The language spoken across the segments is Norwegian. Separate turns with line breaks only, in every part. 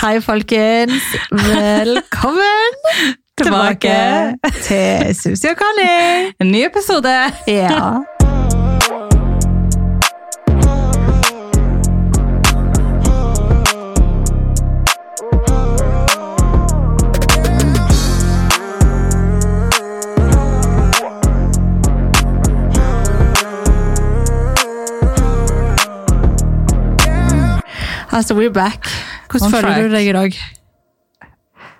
Hei, folkens. Velkommen tilbake til Susi og Conny.
En ny episode!
Ja. Altså, we're back. Hvordan
On
føler
track.
du deg i dag?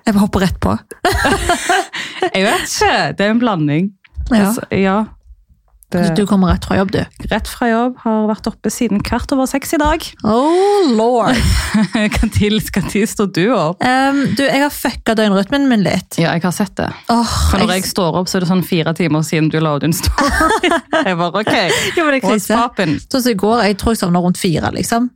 Jeg bare hopper rett på.
Jeg vet ikke, det er en blanding.
Ja.
Altså, ja.
Du
Det,
kommer rett fra jobb, du.
rett fra jobb, har vært oppe siden kvart over seks i dag.
Oh lord.
Hva tid skal tid står du opp?
Um, du, jeg har fucka døgnrytmen min litt.
Ja, jeg har sett det.
Åh,
For når jeg står opp, så er det sånn fire timer siden du la ut en story. Jeg bare, ok,
Ja, men det er
what's
krise.
poppin'?
Sånn som i går, jeg tror jeg sovna rundt fire, liksom.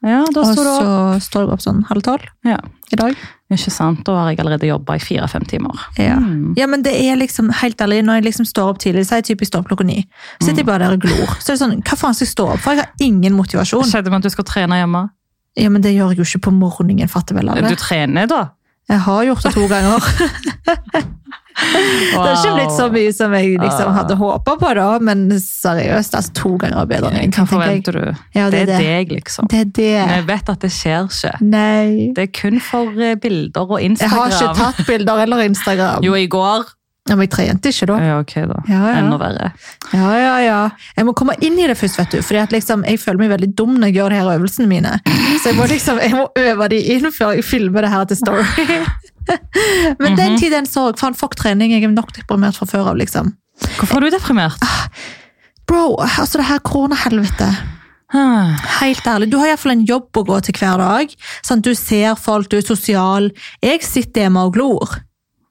Ja, da
Og
står du opp.
så står jeg opp sånn halv tolv
Ja,
i dag.
ikke sant, da har jeg allerede jobbet i fire-fem timer.
Ja.
Mm.
ja, men det er liksom, helt ærlig, når jeg liksom står opp tidlig, så er jeg typisk står opp klokka ni.
Mm.
Sitter jeg bare der og glor. Så er det sånn, hva faen skal jeg stå opp for? Jeg har ingen motivasjon.
Skjedde med at du skal trene hjemme?
Ja, men det gjør jeg jo ikke på morgenen, fatter vel alle.
Du trener da?
Jeg har gjort det to ganger. Det har ikke blitt så mye som jeg
Ah.
liksom hadde håpa på, da, men seriøst, altså to ganger er bedre enn
Hva
ingenting. tenker jeg.
forventer du?
Ja,
det
det
er
er
deg, liksom.
Det er
Men
det.
jeg vet at det skjer ikke.
Nei.
Det er kun for eh, bilder og
Jeg
Instagram.
har ikke tatt bilder eller Instagram.
Jo, i går.
Ja, men jeg trente ikke da.
Ja, ok da.
Ja, ja.
Enda verre.
Ja, ja, ja. Jeg må komme inn i det først, vet du. Fordi at liksom, jeg føler meg veldig dum når jeg gjør de her øvelsene mine. Så jeg må liksom, jeg må øve de inn før jeg filmer det her til story. Men den tid, den sorg. Faen, fuck trening. Jeg er nok deprimert fra før av, liksom.
Hvorfor er du deprimert?
Bro, altså det her koronahelvete.
Ah,
Helt ærlig, du har iallfall en jobb å gå til hver dag. Sant? Du ser folk, du er sosial. Jeg sitter hjemme og glor.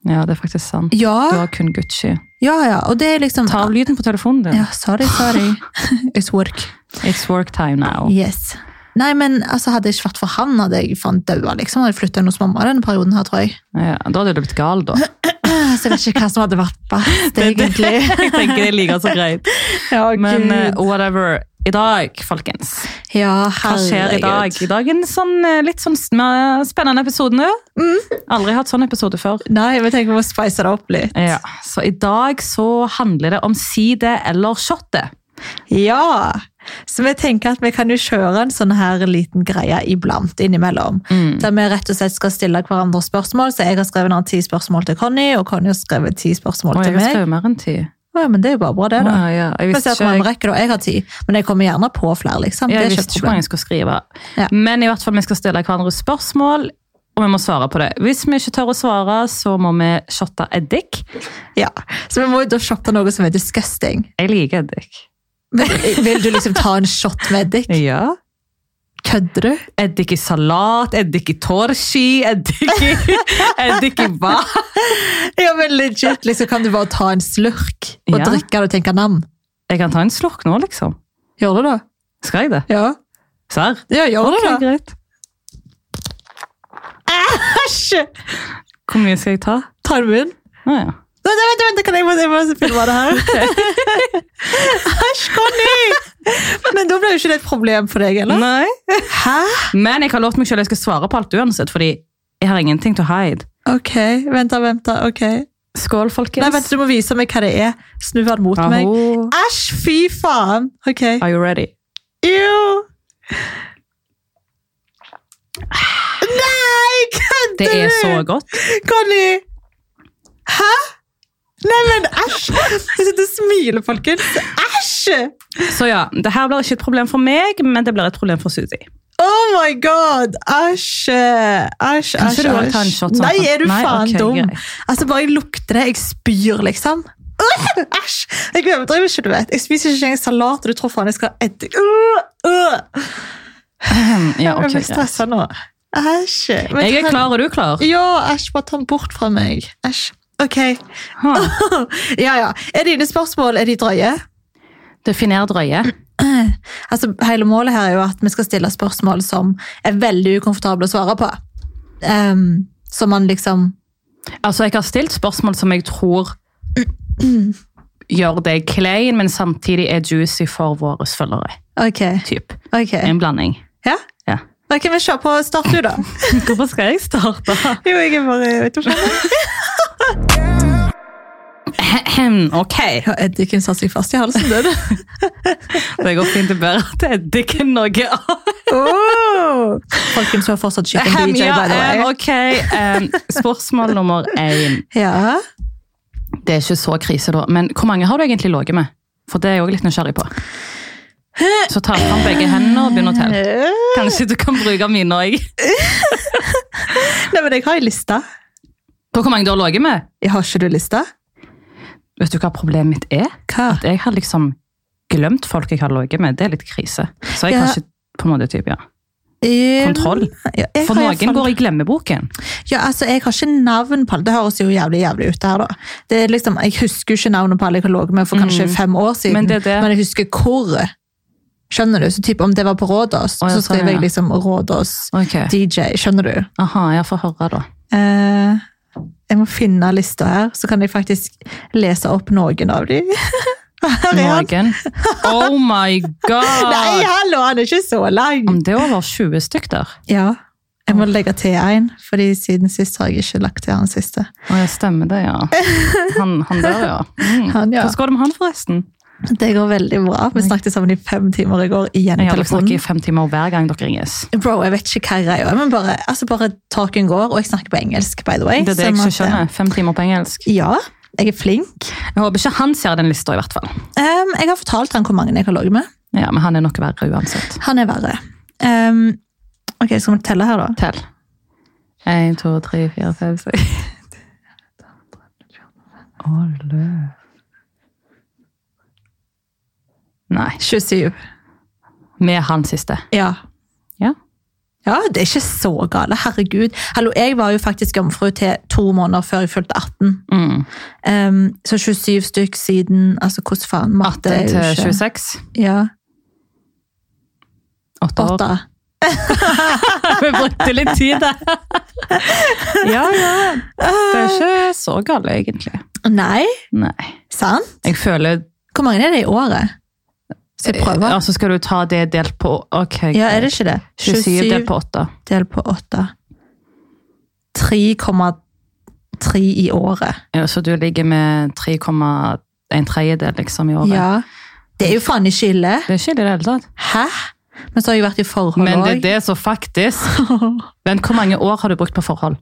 Ja, det er faktisk sant. Du
Ja,
har kun Gucci.
ja, ja. Og det er liksom
Ta av lyden på telefonen din.
Ja, sorry, sorry. It's work.
It's work time now.
Yes. Nei, men altså, hadde jeg ikke vært for han, hadde jeg faen daua, liksom. Hadde jeg flytta inn hos mamma denne perioden her, tror jeg.
Ja, da hadde du blitt gal, da.
Ah, Så jeg vet ikke hva som hadde vært best, egentlig. oh,
Jeg tenker det er like så greit.
Ja,
Men eh, whatever. I dag, folkens.
ja,
Hva skjer i dag? I dag er en sånn, eh, litt sånn sm- spennende episode nå.
Mm.
Aldri hatt sånn episode før.
Nei, men tenk om å spice det opp litt.
Ja, så i dag så handler det om si det eller shotte.
Ja! Så vi tenker at vi kan jo kjøre en sånn her liten greie iblant innimellom. Der vi rett og slett skal stille hverandre spørsmål. Så jeg har skrevet ned ti spørsmål til Conny, og Conny har skrevet ti spørsmål
Og jeg
til
har
meg.
skrevet mer enn ti.
Å, ja, men det er jo bare bra, det, da.
Å, ja. Jeg
Jeg,
visste
ser at man
ikke, jeg,
rekker, da. jeg har ti, men jeg kommer gjerne på flere. liksom.
jeg
det er
visste
ikke et
ikke hvor
problem.
mange jeg skulle skrive.
Ja.
Men i hvert fall vi skal stille hverandre spørsmål, og vi må svare på det. Hvis vi ikke tør å svare, så må vi shotte eddik.
Ja. Så vi må jo da shotte noe som er disgusting.
Jeg liker eddik.
Men, vil du liksom ta en shot med eddik?
Ja.
Kødder du?
Eddik i salat, eddik i torski, eddik i, eddik i hva?
Ja, men legit, liksom Kan du bare ta en slurk og
Ja.
drikke det og tenke nam?
Jeg kan ta en slurk nå, liksom.
Gjør du det?
Skal jeg det?
Ja.
Serr?
ja gjør
Ok,
du det?
greit.
Æsj!
Hvor mye skal jeg ta?
Ta den munn.
Å, ja.
Vent, vent, vent, kan jeg må, jeg må filme det her. Æsj, Conny! Men da blir jo ikke det et problem for deg, eller?
Nei.
Hæ?
Men jeg har lovt meg selv at jeg skal svare på alt uansett, fordi jeg har ingenting til å hide.
Ok, vent da, vent da, ok.
Skål, folkens.
Nei, vent, du må vise meg hva det er. Snu den mot
Aho.
meg. Æsj, fy faen! Ok.
Are you ready?
Ew. Nei, kødder du?
Det er så godt.
Conny! Hæ? Nei, men æsj! Jeg sitter og smiler, folkens. Æsj!
Så ja, det her blir ikke et problem for meg, men det blir et problem for Susi.
Oh my god! Æsj! Æsj, æsj,
Kanskje du også tar en
æsj.
shot sånn?
Nei, er du
Nei,
faen
ok,
dum?
greit.
Altså, bare jeg lukter det, jeg spyr, liksom. Øh, Æsj! Jeg overdriver ikke, du vet. Jeg spiser ikke engang salat, og du tror faen jeg skal ha eddik. Øh, øh.
Ja,
Jeg
ok.
blir
greit.
stressa nå. Æsj. Men
Jeg er
kan-
klar, og du er klar.
Ja, æsj, bare ta den bort fra meg. Æsj. Ok.
Ha.
Ja, ja. Er dine spørsmål er de drøye?
Definer drøye.
Altså, hele målet her er jo at vi skal stille spørsmål som er veldig ukomfortable å svare på. Ehm, som man liksom
Altså, jeg har stilt spørsmål som jeg tror gjør deg klein, men samtidig er juicy for våre følgere.
Ok.
Typ.
ok.
En blanding.
Ja?
Ja.
Men hvem vil kjøre på? Start du, da.
Hvorfor skal jeg starte?
Jo, jeg er bare jeg vet ikke.
ok,
Ja, Eddiken satte seg fast i halsen, det. da.
det går fint å bære at det er ikke noe av.
Oh! eh, Folkens, vi har fortsatt chicken
Ahem,
DJ,
ja,
by the
em,
way.
ok, em, spørsmål nummer én.
Ja.
Det er ikke så krise da, men hvor mange har du egentlig ligget med? For det er jeg også litt nysgjerrig på. Så ta fram begge hendene og begynn å telle.
Eh.
Kanskje du kan bruke mine òg.
Nei, men jeg har ei liste.
På hvor mange du har ligget med?
Jeg har ikke du liste?
Vet du hva problemet mitt er?
Hva?
At jeg har liksom glemt folk jeg har ligget med. Det er litt krise. Så jeg
Ja.
kan ikke på en måte type, ja.
Em,
Kontroll.
Ja, jeg
For
har i hvert
noen
fall-
går i glemmeboken.
Ja, altså, jeg har ikke navn på alle. Det høres jo jævlig jævlig ut det her, da. Det er liksom, jeg husker jo ikke navnet på alle jeg har ligget med for kanskje
Mm.
fem år siden,
Men det er det.
jeg husker hvor. Skjønner du? Så typ om det var på Rådås,
Å, ja,
så
sånn,
skriver jeg
ja.
liksom Rådås
Ok.
DJ. Skjønner du?
Aha, jeg får høre da.
Eh, jeg må finne lista her, så kan jeg faktisk lese opp noen av dem. Her er han.
Noen. Oh my
Nei,
god!
hallo, han er ikke så lang!
Om det er over 20 stykk der.
Ja, jeg må legge til en, fordi siden sist har jeg ikke lagt til han siste.
Å, ja, stemmer det, ja. Han, han der, ja. Mm.
Han, ja.
Hvordan går det med han, forresten?
Det går veldig bra. Vi snakket sammen i fem timer i går, igjen i
Jeg har snakket
telefonen.
i fem timer hver gang dere ringes.
Bro, jeg vet ikke hva jeg er, men bare, altså bare taken går, og jeg snakker på engelsk, by the way.
Det er det jeg
sånn
ikke
at, eh,
skjønner. Fem timer på engelsk.
Ja, jeg er flink.
Jeg håper ikke han ser den lista, i hvert fall.
Em, jeg har fortalt han hvor mange jeg har ligget med.
Ja, Men han er nok verre uansett.
Han er verre. Em, ok, skal vi telle her, da?
Tell. Én, to, tre, fire, fem, seks Alle Nei.
27.
Med han siste.
Ja.
Ja.
Ja, det er ikke så gale. Herregud. Hallo, jeg var jo faktisk jomfru til to måneder før jeg fylte 18.
Mm.
Em, Ehm, så 27 stykk siden Altså, hvordan faen? Matte
18
er jo
til
ikke
26.
Ja.
Åtte år.
Åtte.
Vi brukte litt tid der. ja, ja. Det er ikke så gale, egentlig.
Nei,
Nei.
sant?
Jeg føler
Hvor mange er det i året? Skal jeg prøve?
Altså, skal du ta det delt på Ok.
Ja, er det ikke det?
27 delt på 8.
delt på 8. 3,3 i året.
Ja, så du ligger med 3,1 tredjedel liksom, i året?
Ja. Det er jo faen ikke ille.
Det er ikke ille i det hele tatt.
Hæ? Men så har jeg vært i forhold
Men det er
òg.
det som faktisk Vent, hvor mange år har du brukt på forhold?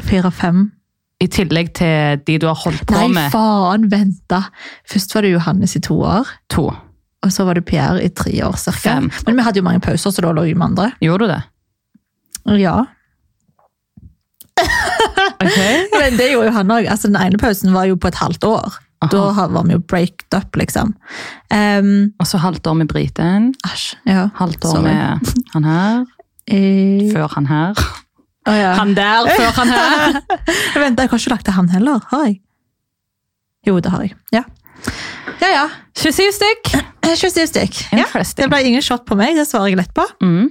Fire-fem.
I tillegg til de du har holdt på
Nei,
med?
faen, vent da. Først var det Johannes i to år,
To.
og så var det Pierre i tre år cirka.
Fem.
Men vi hadde jo mange pauser, så da lå vi med andre.
Gjorde du det?
Ja.
Ok.
Men det gjorde jo han òg. Altså, den ene pausen var jo på et halvt år.
Aha.
Da har- var vi jo breaked up, liksom. Ehm,
Og så halvt år med briten.
Æsj. ja.
Halvt år
Sorry.
med han her.
Eh,
Før han her.
å ja.
Han der før han her.
Vent, jeg har ikke lagt til han heller, har jeg? Jo, det har jeg. Ja, ja. ja.
27 stykk.
Eh, 27 stykk. Ja. Det
Interesting.
ble ingen shot på meg, det svarer jeg lett på.
Mm.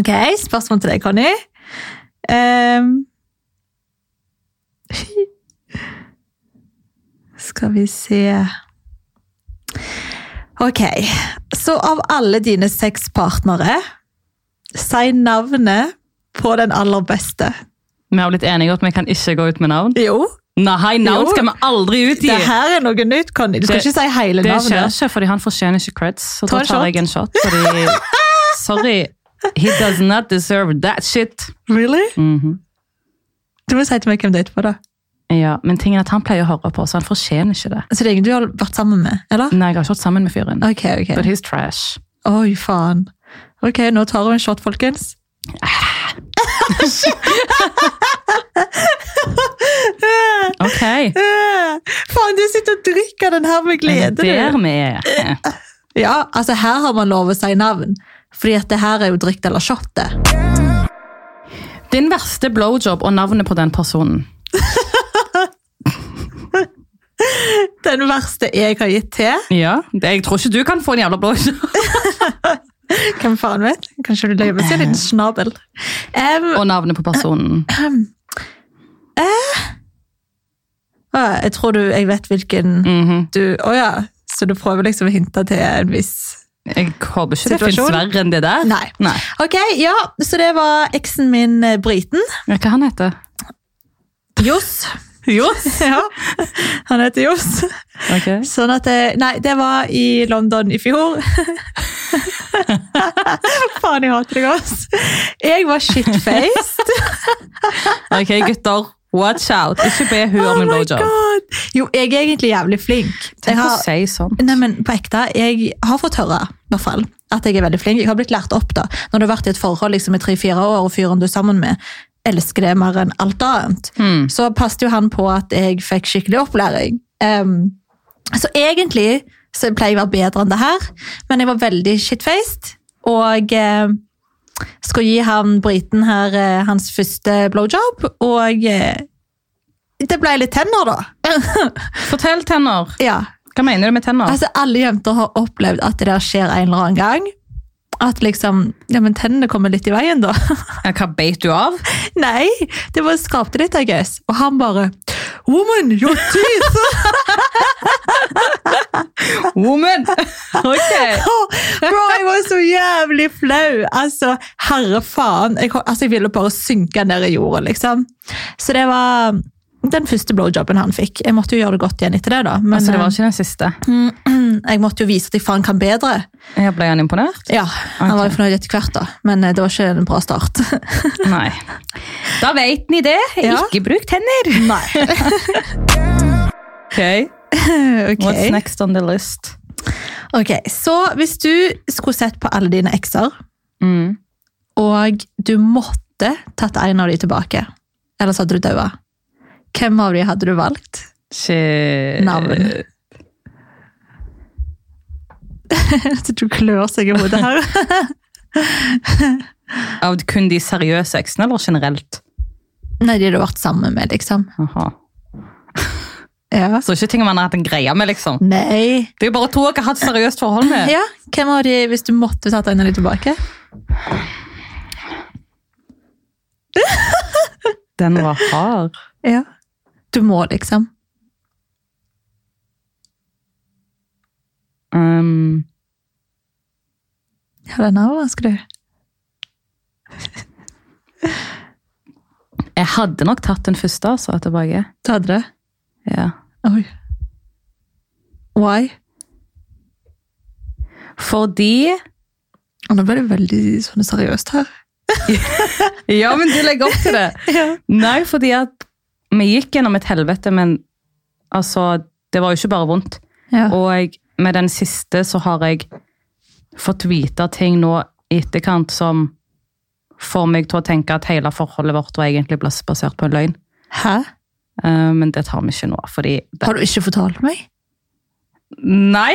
Ok, spørsmål til deg, Conny. Ehm. Skal vi se Ok, så av alle dine seks partnere, si navnet på den aller beste.
Vi har blitt enige om at vi kan ikke gå ut med navn.
Jo,
Nei, navn
Jo.
skal vi aldri utgi!
det her er noe nytt, Conny. Du skal
Det-
ikke si hele
Det
navnet.
skjer ikke, fordi han fortjener ikke creds. Så
Ta
da
en
tar jeg en shot, fordi Sorry. He does not deserve that shit.
Really?
Mhm.
Du må si til meg hvem du er etterpå, da.
Ja, Men tingen er at han pleier å høre på, så han fortjener ikke det.
Så det er ingen du har vært sammen med, eller?
Nei, jeg har ikke vært sammen med fyren.
Ok, ok.
But he's trash.
Oi, faen. Ok, nå tar vi en shot, folkens.
Ok.
Øh, faen, du sitter og drikker den her med
Det er
glede,
der
du.
vi er.
Ja, altså her har man lov å si navn. Fordi at det her er jo drikt eller shot, det.
Din verste blowjob og navnet på den personen.
Den verste jeg har gitt til.
Ja, det- Jeg tror ikke du kan få en jævla blowjob.
Hvem faen vet? Kanskje du løper seg en liten snabel. Em,
Og navnet på personen.
å, jeg tror du, jeg vet hvilken
Mhm.
du Å ja, så du prøver liksom å hinte til en viss
Jeg håper ikke det finnes
Situasjon?
verre enn det der.
Nei. Ok, ja, så det var eksen min, eh, briten.
Ja, Hva han heter
Johs. ja, han heter Johs.
Ok.
Sånn at det, Nei, det var i London i fjor. Faen, jeg hater deg, ass. Jeg var shitfaced.
ok, gutter. Watch out. Ikke be hun
Oh
om en
my
blowjob.
god. Jo, jeg er egentlig jævlig flink. Jeg
Tenk å
har,
si sånn.
nei, men på ekte, jeg har fått høre i hvert fall, at jeg er veldig flink. Jeg har blitt lært opp da, når du har vært i et forhold liksom, i tre-fire år, og fyren du er sammen med elsker det mer enn alt annet.
Mm.
Så passet jo han på at jeg fikk skikkelig opplæring. Em, så egentlig så pleier jeg å være bedre enn det her, men jeg var veldig shitfaced. Og eh, skulle gi han briten her eh, hans første blowjob, og eh, det ble litt tenner, da.
Fortell tenner.
Ja.
Hva mener du med tenner?
Altså, alle jenter har opplevd at det der skjer en eller annen gang. At liksom Ja, men tennene kommer litt i veien, da.
Ja, Hva beit du av?
Nei, det var skrapte litt, I guess. Og han bare Woman, your teeth!
Woman! ok.
Bro, jeg var så jævlig flau! Altså, herre faen. Jeg, altså, jeg ville bare synke ned i jorda, liksom. Så det var den første blowjobben han fikk. Jeg måtte jo gjøre det godt igjen etter det, da. Men
Altså, det var ikke den siste.
eh, jeg måtte jo vise at jeg faen kan bedre.
Jeg ble han imponert?
Ja, Han var jo fornøyd etter hvert, da, men eh, det var ikke en bra start.
Nei. Da vet ni det.
Ja.
Ikke bruk tenner.
Nei.
Ok. What's next on the list?
Eh, ok, Så hvis du skulle sett på alle dine ekser,
Mm.
og du måtte tatt en av de tilbake, ellers hadde du daua, hvem av de hadde du valgt?
Shit.
Navn. Så du klør seg i hodet her.
Av kun de seriøse eksene, eller generelt?
Nei, de du har vært sammen med, liksom.
Aha.
Ja.
Så ikke ting man har hatt en greie med, liksom.
Nei.
Det er jo bare to jeg har hatt seriøst forhold med.
Ja, hvem av de, hvis du måtte tatt en av de tilbake?
Den var hard.
Ja. Du må, liksom.
Um,
Ja, den overrasker du.
jeg hadde nok tatt den første, altså, tilbake.
Du hadde det?
Ja.
Oi. Why?
Fordi
Og nå ble det veldig sånn seriøst her.
Ja, men du legger opp til det.
Ja.
Nei, fordi at vi gikk gjennom et helvete, men altså Det var jo ikke bare vondt.
Ja.
Og med den siste så har jeg fått vite ting nå i etterkant som får meg til å tenke at hele forholdet vårt var egentlig bas- basert på en løgn.
Hæ?
Eh, men det tar vi ikke nå, fordi det...
Har du ikke fortalt meg?
Nei!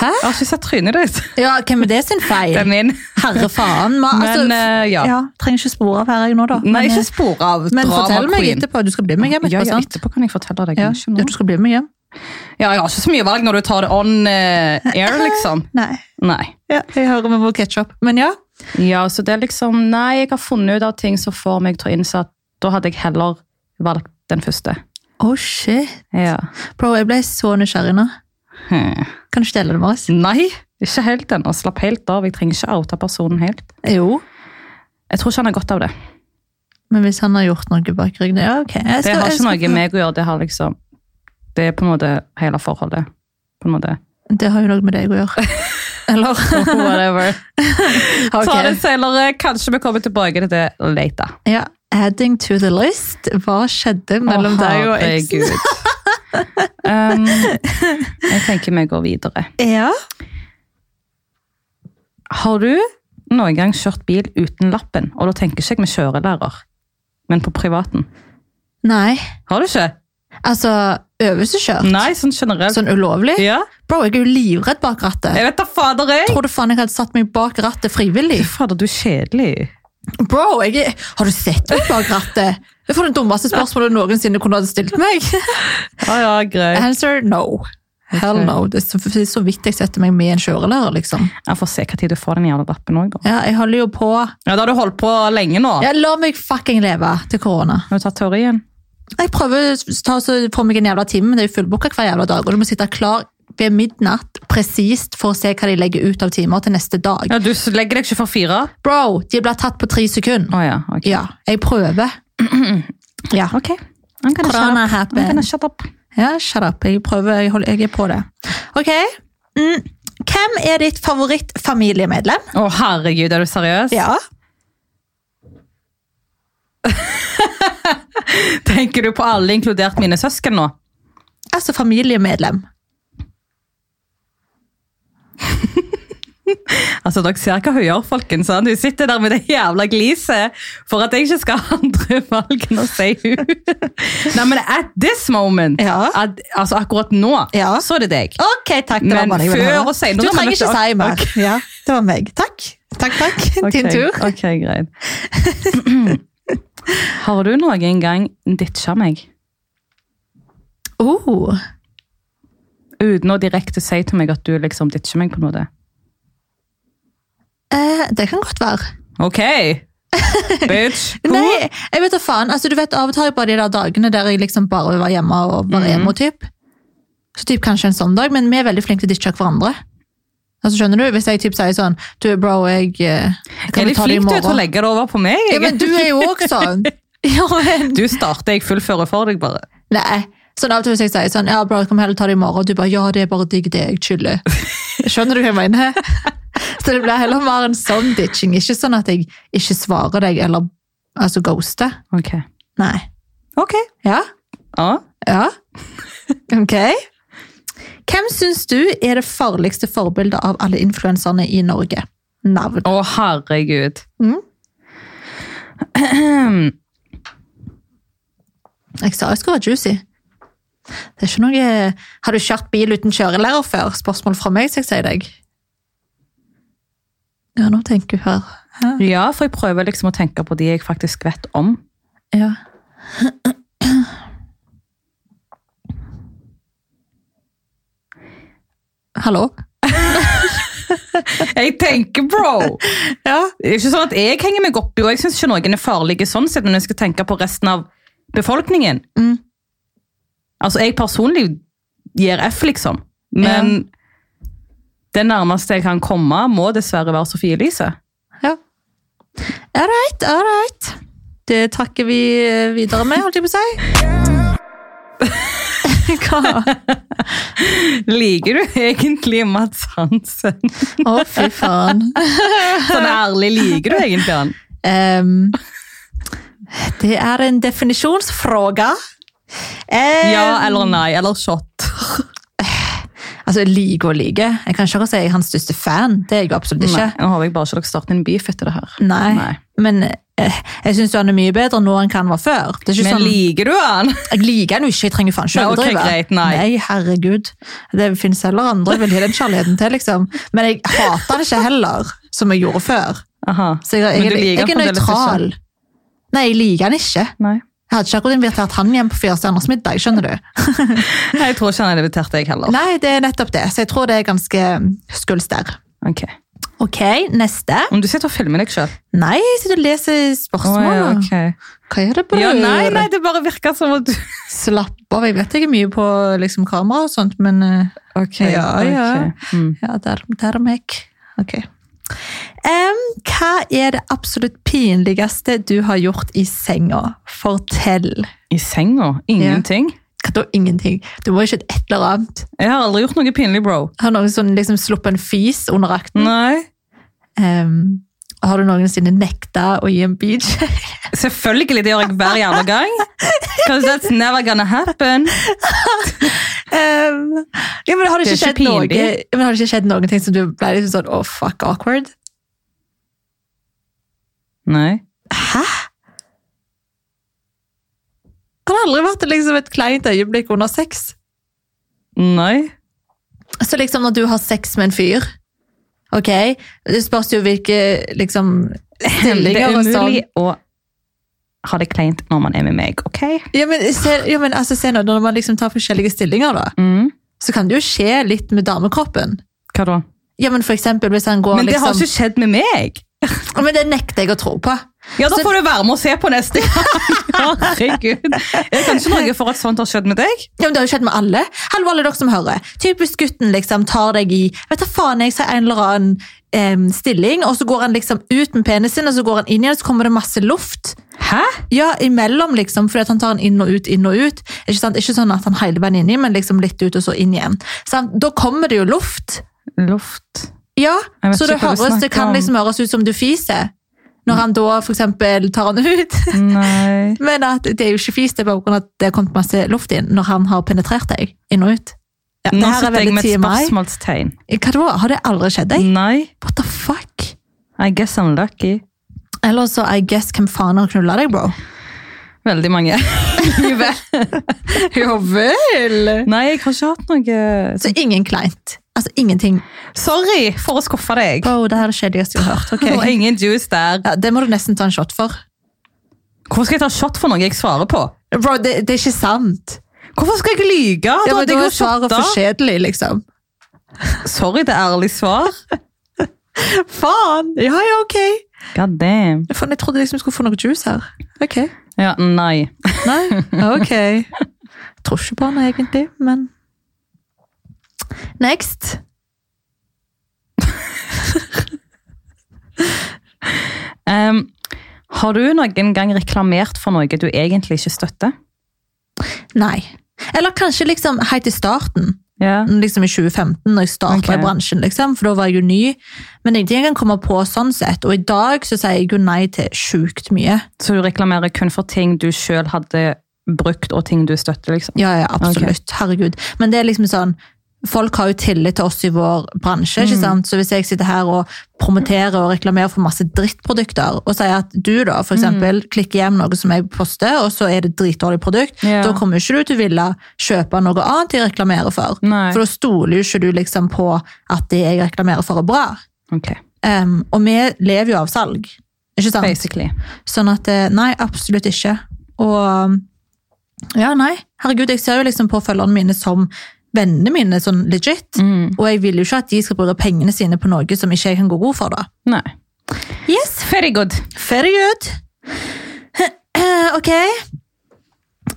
Hæ?
Jeg har ikke sett trynet ditt.
Ja, hvem er det sin feil?
Det er min.
Herre faen. Man,
Men
altså,
eh, ja. eh,
ja, trenger ikke spor av her jeg nå, da.
Nei,
men, eh,
ikke spor av
men
drama
fortell meg
queen.
etterpå. Du skal bli med hjem
Ja,
etterpå,
ja,
sant?
etterpå kan jeg fortelle deg.
Ja.
men ikke
ja,
nå.
du skal bli med hjem.
Ja, jeg har ikke så mye valg når du tar det on eh, air, liksom.
Nei.
Nei.
Ja, jeg hører med vår ketchup. Men ja.
Ja, så det er liksom Nei, jeg har funnet ut av ting som får meg til å innse at da hadde jeg heller valgt den første.
Oh shit.
Ja.
Bro, jeg ble så nysgjerrig nå.
Hm.
Kan du ikke dele det med oss?
Nei, ikke helt ennå. Slapp helt av. Jeg trenger ikke oute personen helt.
Jo.
Jeg tror ikke han har godt av det.
Men hvis han har gjort noe bak ryggen Ja, ok. Jeg
Det
skal-
har
jeg
ikke
skal-
noe med meg å gjøre. Det har liksom Det er på en måte hele forholdet. På en måte.
Det har jo noe med deg å gjøre. Eller?
Whatever.
Ok.
Ta det senere. Kanskje vi kommer tilbake til det later.
Ja. Adding to the list. Hva skjedde mellom
Å,
deg og eksen?
herregud. Um, jeg tenker vi går videre.
Ja.
Har du noen gang kjørt bil uten lappen? Og da tenker ikke jeg med kjørelærer, men på privaten.
Nei.
Har du ikke?
Altså, øvelseskjørt?
Nei, sånn eh? generelt.
Sånn ulovlig?
Ja,
Bro, jeg er jo livredd bak rattet.
jeg vet da fader jeg!
Tror du faen jeg hadde satt meg bak rattet frivillig?
Fader, du er kjedelig.
Bro, jeg er... Har du sett meg bak rattet? Det var det dummeste spørsmålet du noensinne kunne ha stilt meg.
Ja, ja, greit.
Answer no. Hell
Ok.
no. Det er så, det er så vidt jeg setter meg med en kjørelærer, liksom.
Jeg får se hva tid du får den jævla lappen òg, da.
Ja, jeg holder jo på.
Ja, Da har du holdt på lenge nå.
Ja, la meg fucking leve til korona.
Har du tatt teorien?
Jeg prøver å ta, så, få meg en jævla time, men det er jo fullbooka hver jævla dag, og du må sitte klar ved midnatt presist for å se hva de legger ut av timer til neste dag.
Ja, Du s- legger deg ikke for fire?
Bro, de blir tatt på tre
Å
sekunder.
ja. Ok.
Ja, jeg prøver. Ja.
Ok. I'm gonna shut
Corona
up. I'm
happen.
gonna shut up.
Ja, shut up. Jeg prøver. Jeg, holder, jeg er på det. Ok. Mm. Hvem er ditt favorittfamiliemedlem?
Å, herregud, er du seriøs?
Ja.
Tenker du på alle, inkludert mine søsken nå?
Altså familiemedlem.
Altså, Dere ser hva hun gjør, folkens. sant? Hun sitter der med det jævla gliset for at jeg ikke skal ha andre valg enn å si hun. Nei, men at this moment,
Ja.
at, altså akkurat nå,
Ja.
så er det deg.
Ok, takk. Det var
Men
bare jeg ville
før
høre.
og senere,
Du
da, men
trenger ikke
dette-
si mer. Ja, det var meg. Takk. Takk, takk. Din
Ok,
tur.
Ok, greit. Har du noen gang ditcha meg
Oh.
uten å direkte si til meg at du liksom ditcher meg på noe?
Eh, det kan godt være.
Ok! Bitch!
Nei, jeg vet da faen. Altså, du vet, Av og til har jeg bare de der dagene der jeg liksom bare var hjemme og var
Mhm.
emo. Typ. Så typ kanskje en sånn dag, men vi er veldig flinke til å ditche hverandre. Altså, skjønner du? Hvis jeg typ sier sånn Du, bro, jeg eh,
Er
kan
de
vi ta det i
flinke til å
morgen?
legge det over på meg?
Ja, men du er jo også sånn. Ja, men,
Du starter, jeg fullfører for deg bare.
nei. Sånn Av og til hvis jeg sier sånn Ja, bro, kan vi heller ta det i morgen? Og du bare Ja, det er bare digg, det. Jeg chiller. Skjønner du hva jeg mener? Så det blir heller mer en sånn ditching. Ikke sånn at jeg ikke svarer deg, eller altså ghoster.
Ok.
Nei.
Ok.
Ja?
Ja.
Ja. Ok. Hvem syns du er det farligste forbildet av alle influenserne i Norge? Navn.
Å, herregud.
Mm. Jeg sa jeg skulle være juicy. Det er ikke noe Har du kjørt bil uten kjørelærer før? Spørsmål fra meg, skal jeg si deg. Ja, nå tenker hun her. Hæ?
Ja, for jeg prøver liksom å tenke på de jeg faktisk vet om.
Ja. Hallo?
Jeg tenker, bro!
Ja.
Det er ikke sånn at jeg henger meg opp i, og jeg syns ikke noen er farlige sånn sett, men jeg skal tenke på resten av befolkningen.
Mm.
Altså, jeg personlig gir F, liksom. Men det nærmeste jeg kan komme, må dessverre være Sofie Elise.
Ja. All right, all right. Det takker vi eh, videre med, holdt jeg på å si. Hva?
Liker du egentlig Mads Hansen?
Å, fy faen.
Sånn ærlig, liker du egentlig han?
Em, det er en definisjonsfråga. Em,
Ja eller nei, eller shot.
Altså, like og like. Jeg kan ikke si jeg er hans største fan. Det er jeg jo absolutt ikke.
Nei, nå håper jeg bare ikke dere starter en beef etter det her.
Nei.
Nei.
Men eh, jeg syns han er mye bedre nå enn hva han var før. Det er ikke
Men
sånn,
liker du han?
jeg liker han jo ikke, jeg trenger faen ikke
Nei,
å
ok,
overdrive.
greit, nei.
herregud. Det finnes heller andre jeg vil gi den kjærligheten til, liksom. Men jeg hater det ikke heller, som jeg gjorde før.
Aha.
Så jeg, jeg,
Men du
jeg,
liker han
er
fremdeles
nøytral. Nei, jeg liker han ikke.
Nei.
Jeg hadde ikke akkurat invitert han hjem på firestjerners middag, skjønner du.
Nei, jeg tror ikke han er invitert deg heller.
Nei, det er nettopp det, så jeg tror det er ganske skulster.
Ok.
Ok, neste.
Om du sitter og filmer deg selv.
Nei, jeg sitter og leser spørsmål.
Åja, ok.
Hva er det, bror?
Ja, nei, nei, det bare virker som at du...
Slapp av, jeg vet jeg er mye på liksom, kamera og sånt, men eh,
Ok,
Ja, ja.
ok. Mm.
Ja, der, der er meg. Ok. Em, hva er det absolutt pinligste du har gjort i senga? Fortell.
I senga? Ingenting?
Hva da? Ingenting. Du må ikke et eller annet.
Jeg har aldri gjort noe pinlig, bro.
Har noen sånn, liksom, sluppet en fis under akten?
Nei. Mm.
Em, har du noensinne nekta å gi en beach?
Selvfølgelig, det gjør jeg hver jævla gang. Because that's never gonna happen.
Em, ja, men har det
Det
ikke
er ikke
skjedd noe,
pinlig.
ja, men har det ikke skjedd noen ting som du ble liksom sånn, åh, fuck, awkward?
Nei.
Hæ? Har det aldri vært liksom, et kleint øyeblikk under sex?
Nei.
Så liksom når du har sex med en fyr, ok, det spørs jo hvilke liksom,
Det er
stillinger og sånn.
umulig å ha det kleint når man er med meg, ok?
Ja, men, se, ja, men altså, se nå, når man liksom tar forskjellige stillinger da,
Mm.
så kan det jo skje litt med damekroppen.
Hva da?
Ja, men for eksempel hvis han går
Men det har
liksom...
ikke skjedd med meg.
Ja, Men det nekter jeg å tro på.
Ja, da
Så-
får du være med og se på neste gang. Herregud. Er det kanskje noe for at sånt har skjedd med deg?
Ja, men Det har jo skjedd med alle. Hallo, alle dere som hører. Typisk gutten liksom tar deg i vet du faen jeg sier en eller annen em, stilling, og så går han liksom ut med penisen, og så går han inn igjen, og så kommer det masse luft.
Hæ?
Ja, imellom, liksom, fordi at han tar den inn og ut, inn og ut. Ikke, sant? ikke sånn at han hele veien inni, men liksom litt ut og så inn igjen. Sant? Da kommer det jo luft.
Luft.
Ja,
Jeg vet
så det,
ikke hva du
høres, det
snakker
kan
om.
liksom høres ut som du fiser. Når han da for eksempel tar han ut.
Nei.
Men at det er jo ikke fis, det er bare på grunn av at det har kommet masse luft inn når han har penetrert deg inn og ut. Ja, det
Nå
her er
sitter jeg
veldig
med et Mm.
TMI.
spørsmålstegn.
Hva da? Har det aldri skjedd deg?
Nei.
What the fuck?
I guess I'm lucky.
Eller så I guess hvem faen har knulla deg, bro?
Veldig mange.
Ja vel!
Nei, jeg har ikke hatt noe
Så ingen kleint. Altså ingenting.
Sorry for å skuffe deg.
Bro, det her er det kjedeligste jeg har hørt. ok?
Og ingen juice der.
Ja, det må du nesten ta en shot for.
Hvorfor skal jeg ta shot for noe jeg svarer på?
Bro, det, det er ikke sant.
Hvorfor skal jeg lyge?
Det
Da
var
hadde
da
jeg jo
er svaret
shotta.
for kjedelig, liksom.
Sorry, det er ærlig svar.
Faen! Ja, ja, ok.
God damn.
Faen, jeg trodde liksom jeg skulle få noe juice her. Ok.
Ja, nei.
Nei, ok. Jeg tror ikke på han egentlig, men Next.
Em, har du noen gang reklamert for noe du egentlig ikke støtter?
Nei. Eller kanskje liksom helt i starten,
Ja.
liksom i 2015, når jeg startet
Ok.
i bransjen, liksom, for da var jeg jo ny. Men ingenting jeg kan komme på sånn sett. Og i dag så sier jeg jo nei til sjukt mye.
Så du reklamerer kun for ting du sjøl hadde brukt, og ting du støtter, liksom?
Ja, ja, absolutt. Herregud. Men det er liksom sånn Folk har jo tillit til oss i vår bransje.
Mm.
ikke sant? Så hvis jeg sitter her og promoterer og reklamerer for masse drittprodukter, og sier at du da,
Mm.
for eksempel, klikker hjem noe som jeg poster, og så er det et dritdårlig produkt,
Ja.
da kommer jo ikke du til å ville kjøpe noe annet jeg reklamerer for.
Nei.
For da stoler jo ikke du liksom på at det jeg reklamerer for, er bra.
Ok,
Em, og vi lever jo av salg. Ikke sant?
basically.
Sånn at eh, nei, absolutt ikke. Og um, ja, nei. Herregud, jeg ser jo liksom på følgerne mine som vennene mine, sånn legit.
Mm.
Og jeg vil jo ikke at de skal bruke pengene sine på noe som ikke jeg kan gå god for, da.
Nei.
Yes,
Very good.
ferdig ut! Ok.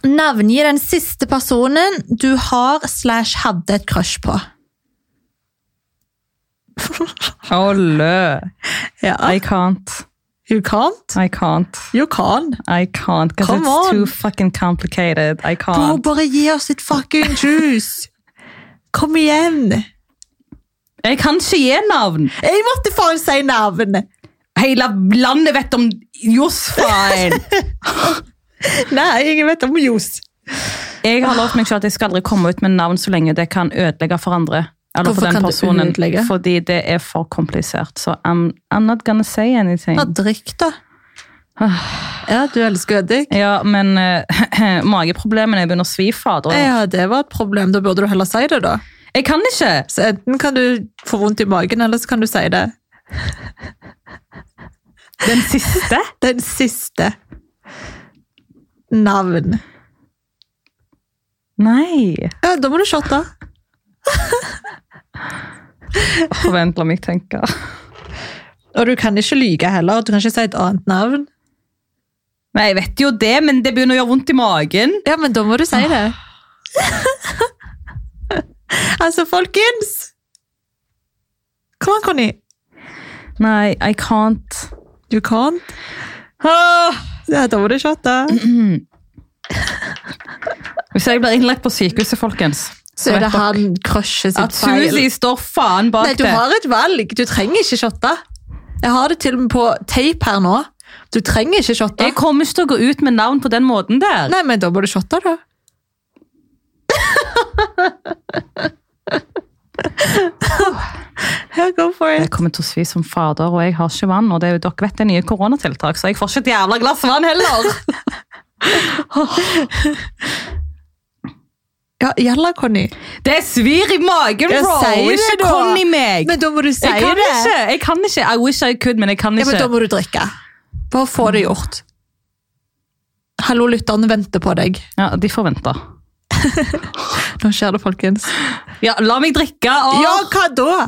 Navngi den siste personen du har slash hadde et crush på.
Olle.
Ja,
I can't.
you can't.
I can't.
You can.
I can't. Because
Come
it's
on.
too fucking complicated. I
Bro,
can't.
bare gi oss et fucking juice! Kom igjen!
Jeg kan ikke gi navn.
Jeg måtte faen si navn!
Hele landet vet om Josfaen.
Nei, ingen vet om juice.
Jeg har lovt meg selv at jeg skal aldri komme ut med navn så lenge det kan ødelegge for andre. Eller
Hvorfor
for den
kan det
personen.
ødelegge?
Fordi det er for komplisert. Så I'm, I'm not gonna say anything.
Ja, drikk, da. Ja, du elsker å drikke.
Ja, men eh, mageproblemene jeg begynner å svi, fader.
Ja, det var et problem. Da burde du heller si det, da.
Jeg kan ikke!
Så enten kan du få vondt i magen, eller så kan du si det.
Den siste?
Den siste. Navn.
Nei.
Ja, da må du shotte.
Åh, Vent, la meg tenke.
Og du kan ikke lyge heller. Du kan ikke si et annet navn.
Nei, jeg vet jo det, men det begynner å gjøre vondt i magen.
Ja, men da må du si det. Ah. altså, folkens! Kom an, Conny.
Nei, I can't.
You can't.
Ah!
Ja, da må du shotte.
Hvis jeg blir innlagt på sykehuset, folkens
Så er det han crushet sitt
At
feil.
Suzy står faen bak
Nei, du
det.
har et valg. Du trenger ikke shotte. Jeg har det til og med på tape her nå. Du trenger ikke shotte.
Jeg kommer ikke til å gå ut med navn på den måten der.
Nei, men da må du shotte, da. Ja, go for
Jeg
it.
kommer til å svi som fader, og jeg har ikke vann. Og det er jo, dere vet det er nye koronatiltak, så jeg får ikke et jævla glass vann heller.
Ja, Jalla, Conny.
Det svir i magen,
Ja,
bro!
si det
Ikke
da.
kom i meg!
Men da må du si
jeg kan
det.
ikke! jeg kan ikke, I wish I could, men jeg kan
Ja, men
ikke.
da må du drikke. Bare få det gjort. Hallo, lytterne venter på deg.
Ja, De får vente.
Nå skjer det, folkens.
Ja, la meg drikke. Og...
Ja, hva da?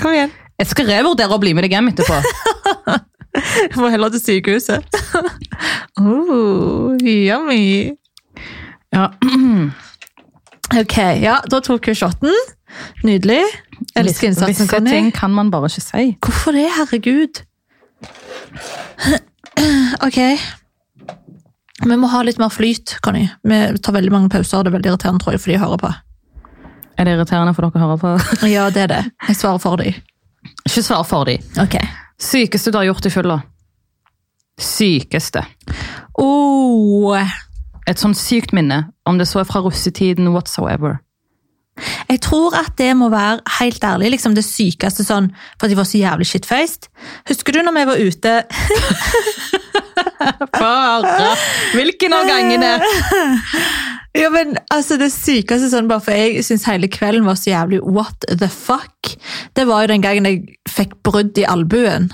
Kom igjen.
Jeg skal revurdere å bli med deg hjem etterpå.
Jeg må heller til sykehuset. oh, yummy.
Ja.
Ok, ja, da tok hun shotten. Nydelig. Elsker innsatsen,
Visse
Conny.
ting kan man bare ikke si.
Hvorfor det, herregud? Ok. Vi må ha litt mer flyt, Conny. Vi tar veldig mange pauser, og det er veldig irriterende, tror jeg, for de hører på.
Er det irriterende for dere å høre på?
Ja, det er det. Jeg svarer for dem.
Ikke svar for de.
Ok.
Sykeste du har gjort i fylla? Sykeste.
Oh,
Et sånn sykt minne, om det så er fra russetiden whatsoever.
jeg tror at det må være helt ærlig, liksom det sykeste sånn, for at de var så jævlig shitfaced. Husker du når vi var ute
Bare hvilken av gangene?
Ja, men altså Det sykeste sånn, bare for jeg syns hele kvelden var så jævlig what the fuck. Det var jo den gangen jeg fikk brudd i albuen.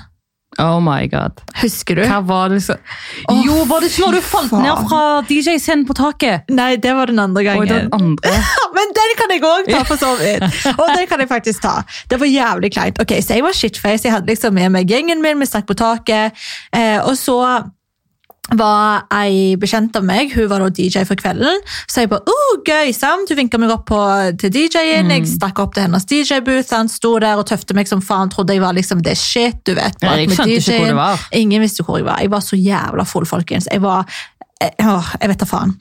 Oh my god.
Husker du?
Hva var det så
Å,
Jo, var det ikke når du falt
faen.
ned fra DJ-scenen på taket?
Nei, det var den andre
Og den
gangen.
andre.
Men den kan jeg òg ta, for så vidt. Og den kan jeg faktisk ta. Det var jævlig kleint. Ok, Så jeg var shitface. Jeg hadde liksom med meg gjengen min, vi stakk på taket. Eh, og så var ei bekjent av meg, hun var da DJ for kvelden, så jeg bare oh, gøy, sant? Hun vinka meg opp på, til DJ-en,
Mm.
jeg stakk opp til hennes DJ-booth, han sto der og tøfte meg som faen, trodde jeg var liksom det shit, du vet.
Ja,
bak
jeg
med
skjønte ikke hvor
DJ-en.
du var.
Ingen visste hvor jeg var. Jeg var så jævla full, folkens. Jeg var eh, Åh, jeg vet da faen.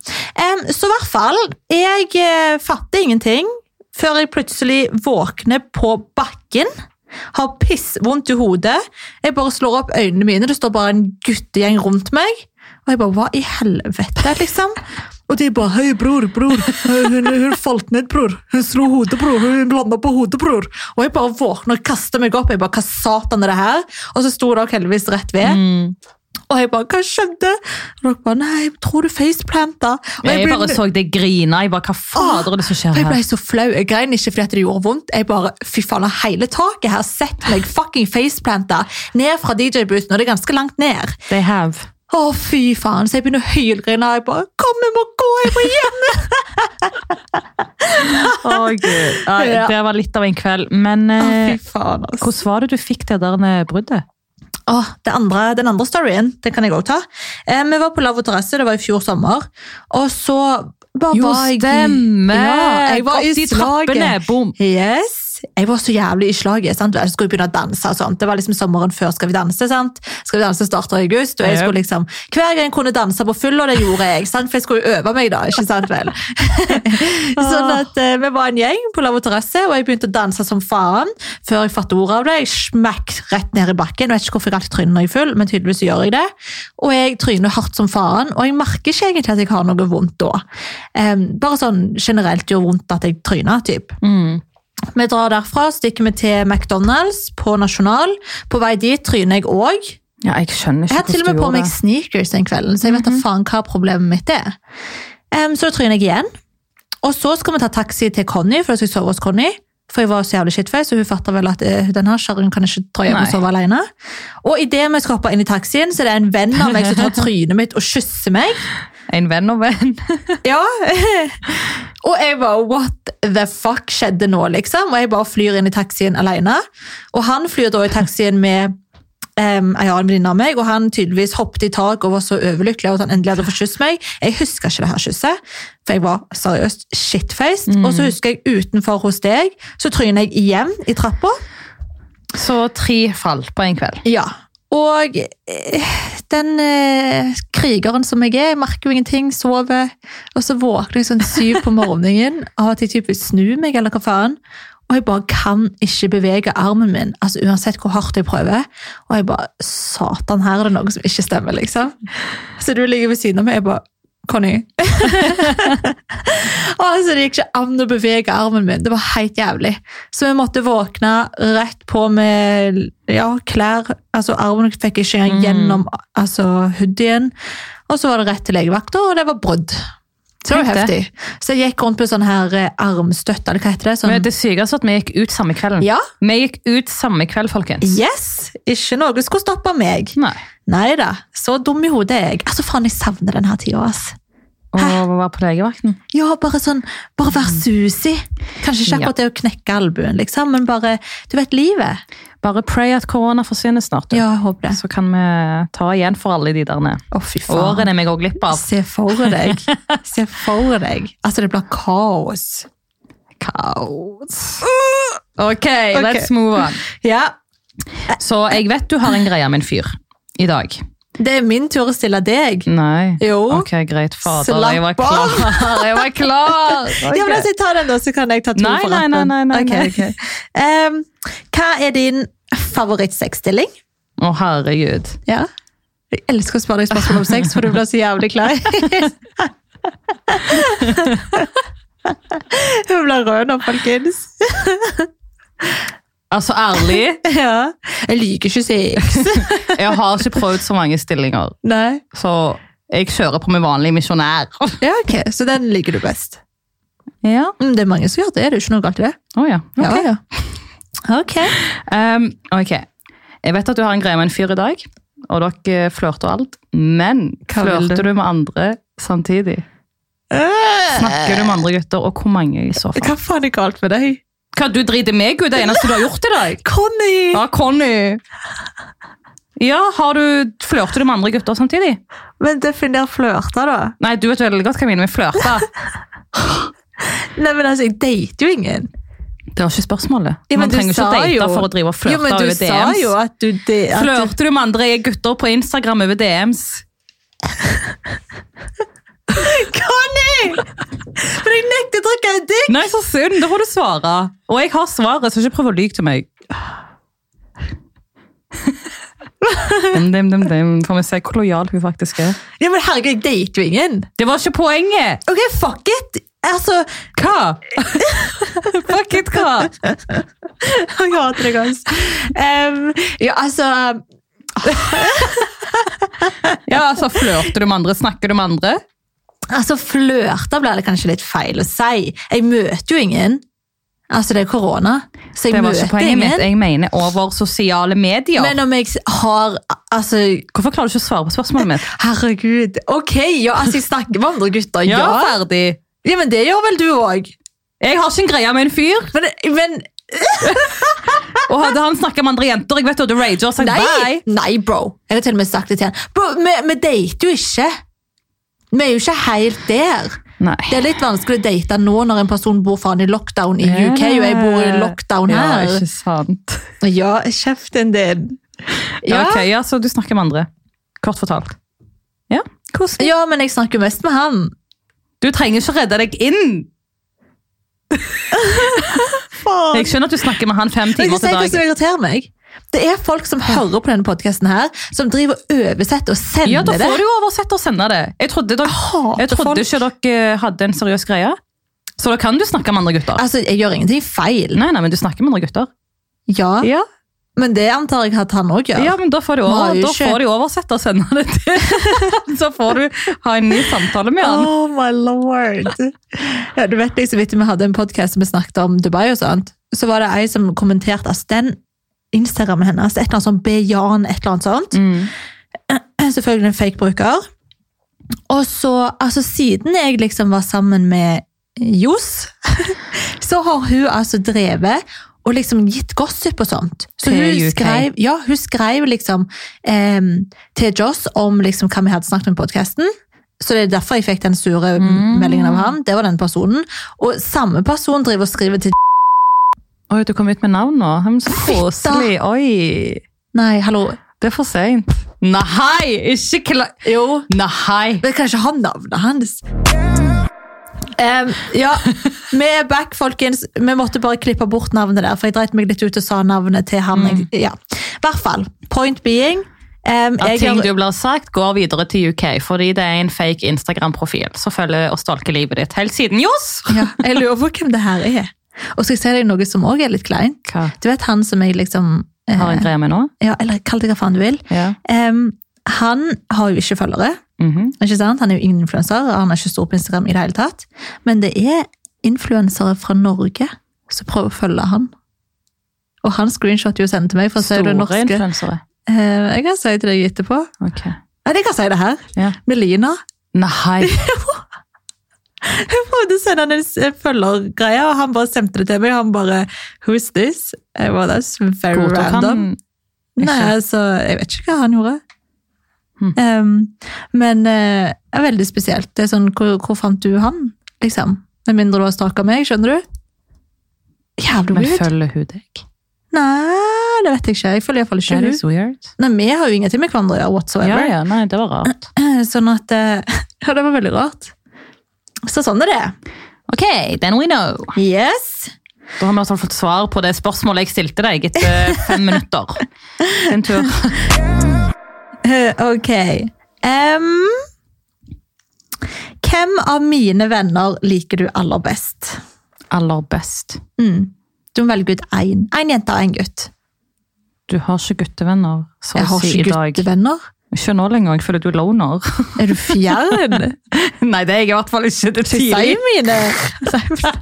Em, så i hvert fall, jeg eh, fatter ingenting før jeg plutselig våkner på bakken. Har pissvondt i hodet. Jeg bare slår opp øynene mine, det står bare en guttegjeng rundt meg. Og jeg bare Hva i helvete, liksom? Og de bare 'Hei, bror, bror. Hun, hun falt ned, bror. Hun slo hodet, bror. Hun landa på hodet, bror.' Og jeg bare våkner og kaster meg opp. Jeg bare 'Hva satan er det her?' Og så sto dere heldigvis rett ved.
Mm.
Og jeg bare 'Hva skjedde?' Og dere bare 'Nei, jeg tror du faceplanta'. Og
Jeg bare
begynte-
så det grine. Jeg bare, hva fader er det som
og
skjer
jeg
her?
ble så flau. Jeg grein ikke fordi at det gjorde vondt. Jeg bare, fy faen, har hele taket her sett meg fucking faceplanta ned fra DJ-booten, og det er ganske langt ned.
They have.
Å, fy faen. Så jeg begynner å hylgrine. Jeg bare Kom, vi må gå! Jeg må hjem!
Å, Gud.
Ja.
Ja, det var litt av en kveld. Men
Å,
eh,
fy faen, altså.
hvordan var det du fikk det der eh, bruddet?
Åh, det andre, den andre storyen, den kan jeg òg ta. Eh, vi var på Lavvo terrasse, det var i fjor sommer, og så bare
Jo,
var jeg i-
stemmer!
Ja, jeg var
Opp
i
de
slaget.
trappene, bom.
Yes. Jeg var så jævlig i slaget. sant? Jeg skulle begynne å danse. og sånt. Det var liksom sommeren før Skal vi danse. sant? Skal vi danse starter i august, og jeg
Ja.
skulle liksom, Hver gang jeg kunne danse på full, og det gjorde jeg, sant? for jeg skulle jo øve meg da. ikke sant vel? sånn at eh, Vi var en gjeng på Lavvo terrasse, og jeg begynte å danse som faen. Før jeg fattet ordet av det, jeg smekk rett ned i bakken. Jeg vet ikke hvorfor jeg alltid tryner når jeg er full, men tydeligvis så gjør jeg det. Og jeg tryner hardt som faen, og jeg merker ikke egentlig at jeg har noe vondt da. Em, bare sånn generelt gjør vondt at jeg tryner, typ.
Mm.
Vi drar derfra, stikker vi til McDonald's på Nasjonal. På vei dit tryner jeg òg.
Ja, jeg skjønner
Jeg har
ikke
til og med
hvordan du
på
gjorde
meg
det.
sneakers den kvelden, så jeg vet da faen hva problemet mitt er. Em, så da tryner jeg igjen. Og så skal vi ta taxi til Conny, for da skal jeg sove hos Conny. For jeg var så jævlig shitface, og hun fatter vel at eh, den her kjerringen kan ikke dra hjem og
Nei.
sove alene. Og idet vi skal hoppe inn i taxien, så er det en venn av meg som tar trynet mitt og kysser meg.
En venn og venn.
Ja. Og jeg bare What the fuck skjedde nå, liksom? Og jeg bare flyr inn i taxien alene. Og han flyr da i taxien med em, en annen venninne av meg, og han tydeligvis hoppet i taket og var så overlykkelig over at han endelig hadde fått kysse meg. Jeg husker ikke det her kysset, for jeg var seriøst shitfaced. Og så husker jeg utenfor hos deg, så tryner jeg igjen i trappa.
Så tre fall på en kveld.
Ja. Og eh, den eh, krigeren som jeg er, jeg merker jo ingenting, sover, og så våkner jeg sånn syv på morgenen av at jeg typisk snur meg, eller hva faen. Og jeg bare kan ikke bevege armen min, altså uansett hvor hardt jeg prøver. Og jeg bare Satan, her er det noe som ikke stemmer, liksom. Så du ligger ved siden av meg, jeg bare Conny. altså, det gikk ikke an å bevege armen min. Det var helt jævlig. Så vi måtte våkne rett på med ja, klær. Altså, armen fikk ikke engang gjennom altså, hoodien. Og så var det rett til legevakta, og det var brudd. Så det var
Tenk
heftig. Så jeg gikk rundt med sånn her eh, armstøtte, eller hva heter det? Sånn,
Men det sykeste var at vi gikk ut samme kvelden.
ja,
Vi gikk ut samme kveld, folkens.
yes! Ikke noe skulle stoppe meg.
Nei.
Nei da, så dum i hodet er jeg. Altså, faen, jeg savner denne tida, ass.
Og var på legevakten.
Ja, bare sånn, bare vær susig. Kanskje ikke akkurat det å knekke albuen, liksom, men bare, du vet, livet.
Bare pray at korona forsvinner snart. du.
Ja, jeg håper det.
Så kan vi ta igjen for alle de der nede.
Å, fy faen.
Årene vi går glipp av.
Se for deg. Se for deg. Altså, det blir kaos. Kaos.
Ok, let's move on.
Ja,
Så jeg vet du har en greie med en fyr i dag.
det er min tur å stille deg.
Nei.
Jo.
Ok, greit, fader. Jeg var
Slapp av.
klar. Jeg var klar. Ok.
Ja, men altså, jeg tar den da, så kan jeg ta to
Nei,
for
nei,
rappen.
nei, nei, nei,
Ok,
nei.
ok. Em, hva er din favorittsexstilling?
Å, herregud.
Ja. Jeg elsker å spørre deg spørsmål om sex, for du blir så jævlig klar. Hun blir rød nå, folkens.
Altså, ærlig,
Ja. Jeg liker ikke sex.
jeg har ikke prøvd så mange stillinger,
Nei.
så jeg kjører på med vanlig misjonær.
Ja, ok. Så den liker du best.
Ja.
Mm, Det er mange som gjør det. Det er jo ikke noe galt i det.
Å ja. ok.
Ja, ja. Ok.
Um, ok, jeg vet at du har en greie med en fyr i dag, og dere eh, flørter og alt, men
Hva vil
flørter du?
du?
med andre samtidig? Snakker du med andre gutter, og hvor mange i så fall?
Hva faen er galt med deg?
Hva, du driter meg ut, det eneste du har gjort i dag?
Conny!
Ja, Conny! Ja, har du, flørter du med andre gutter samtidig?
Men definer flørte, da.
Nei, du vet veldig godt hva jeg mener med flørte.
Nei, men altså, jeg dater jo ingen.
Det var ikke spørsmålet.
Ja, men
Man
du
trenger ikke
sa
date
jo-
for å drive og
Jo,
flørte
men du
over
sa
DMs.
jo at du det, at du-
Flørter du med andre gutter på Instagram over DMs?
Conny! Men jeg nekter å drikke en dick!
Nei, så synd! Da får du svare. Og jeg har svaret, så ikke prøv å lyve til meg. dem, dem, dem, dem. Får vi se hvor lojal hun faktisk er.
Ja, men herregud, jeg dater jo ingen.
Det var ikke poenget!
Ok, fuck it! Altså,
Hva? Fuck it, hva?
jeg hater deg, altså. Em, ja, altså
Ja, altså, Flørter du med andre? Snakker du med andre?
Altså, flørte blir det kanskje litt feil å si. Jeg møter jo ingen. Altså, det er korona, så jeg
Det var ikke
møter
poenget mitt.
ingen.
Jeg mener over sosiale medier.
Men om jeg har Altså,
Hvorfor klarer du ikke å svare på spørsmålet mitt?
herregud. Ok, ja, altså, jeg snakker med andre gutter,
Ja,
ja.
ferdig.
Ja, men det gjør vel du òg?
Jeg har ikke en greie med en fyr.
Men, men
Og hadde han snakka med andre jenter, jeg vet du hadde rager og sagt
nei,
bye.
nei, bro. Jeg har til og med sagt det til han. Bro, vi, vi dater jo ikke. Vi er jo ikke helt der. Det
Nei.
er litt vanskelig å date nå når en person bor faen i lockdown i UK, og jeg bor i lockdown
Eh, Ja,
her.
ikke sant.
Ja, kjeften din. Ja,
Ok, ja, så du snakker med andre. Kort fortalt. Ja, koselig.
ja, men jeg snakker jo mest med han.
Du trenger ikke redde deg inn. Jeg
Faen.
skjønner at du snakker med han fem
Men
timer
du
til
ser hva som
dagen.
irriterer meg? Det er folk som hører på denne podkasten her, som driver og oversetter og sender
Ja, da får
det.
du jo oversett og sende det. Jeg trodde, dere,
hater
jeg trodde
folk.
ikke dere eh, hadde en seriøs greie. Så da kan du snakke med andre gutter.
Altså, jeg gjør ingenting feil.
Nei, nei, men du snakker med andre gutter.
Ja,
Ja,
men det antar jeg at han òg gjør.
ja men da får, du
Vi har
over,
jo
da
ikke-
får du oversett og sende det til. Så får du ha en ny samtale med han.
Oh my lord. Ja, du vet liksom, etter vi hadde en podcast som vi snakket om Dubai og sånt, så var det ei som kommenterte, altså den Instagrammen hennes, et eller annet sånn Bejan, et eller annet sånt.
Mm.
Selvfølgelig en fake bruker. Og så, altså siden jeg liksom var sammen med Jos, så har hun altså drevet og liksom gitt gossip og sånt. Så
Til
hun
UK.
skrev, ja, hun skrev liksom em, til Joss om liksom hva vi hadde snakket om i podcasten. Så det er derfor jeg fikk den sure
Mm.
meldingen av han. Det var den personen. Og samme person driver og skriver til
Oi, du kom ut med navn nå. Men Så koselig. Oi.
Nei, hallo.
Det er for seint. Nei, ikke kla...
Jo.
Nei.
Men kanskje han navnet hans. Em, ja, vi er back, folkens. Vi måtte bare klippe bort navnet der, for jeg dreit meg litt ut og sa navnet til han.
Mm.
jeg- Ja. I hvert fall. Point being em,
At
jeg
ting
gjør-
du blir sagt, går videre til UK, fordi det er en fake Instagram-profil som følger og stalker livet ditt helt siden Johs.
ja, jeg lurer på hvem det her er. Og skal jeg si deg noe som òg er litt kleint?
Hva
Du vet han som jeg liksom eh,
har en greie med nå?
ja, Eller kall det hva faen du vil.
Ja.
Em, han har jo ikke følgere.
Mhm.
Ikke sant? Han er jo ingen influenser, og han er ikke stor på Instagram i det hele tatt. Men det er influensere fra Norge som prøver å følge han. Og han screenshot jo sendte til meg, for å si
Store
det norske.
influensere.
Eh, jeg kan si til deg etterpå.
Ok.
Nei, jeg kan si det her.
Ja.
Melina.
Nei.
Jeg prøvde å sende han en s- en følgergreie, og han bare sendte det til meg. Han bare 'Who's this?' Jeg bare, That's very
Godtok han
random.
ikke?
Nei, altså, jeg vet ikke hva han gjorde.
Hmm.
Ehm, men eh, det er veldig spesielt. Det er sånn, hvor, hvor fant du han? Liksom. Med mindre du har stalka meg, skjønner du? Jævlig
Men
weird.
følger hun deg?
Nei, det vet jeg ikke. Jeg føler iallfall ikke
That
hun.
is weird.
Nei, vi har jo ingenting med hverandre å gjøre
liksom- Ja,
whatsoever.
ja, nei, det var rart.
Sånn at eh, Ja, det var veldig rart. Så sånn er det.
Eh, Ok, then we know.
Yes.
Da har vi i hvert fall fått svar på det spørsmålet jeg stilte deg etter fem minutter. Din tur.
Eh, ok. Em, hvem av mine venner liker du aller best?
Aller best.
Mm. Du må velge ut én. Én jente og én gutt.
Du har ikke guttevenner, så
Jeg
å
har
si i
ikke
dag.
guttevenner.
Ikke nå lenger, jeg føler du er loner.
Er du fjern?
Nei, det er jeg i hvert fall ikke. Det er
Si
tidlig.
mine!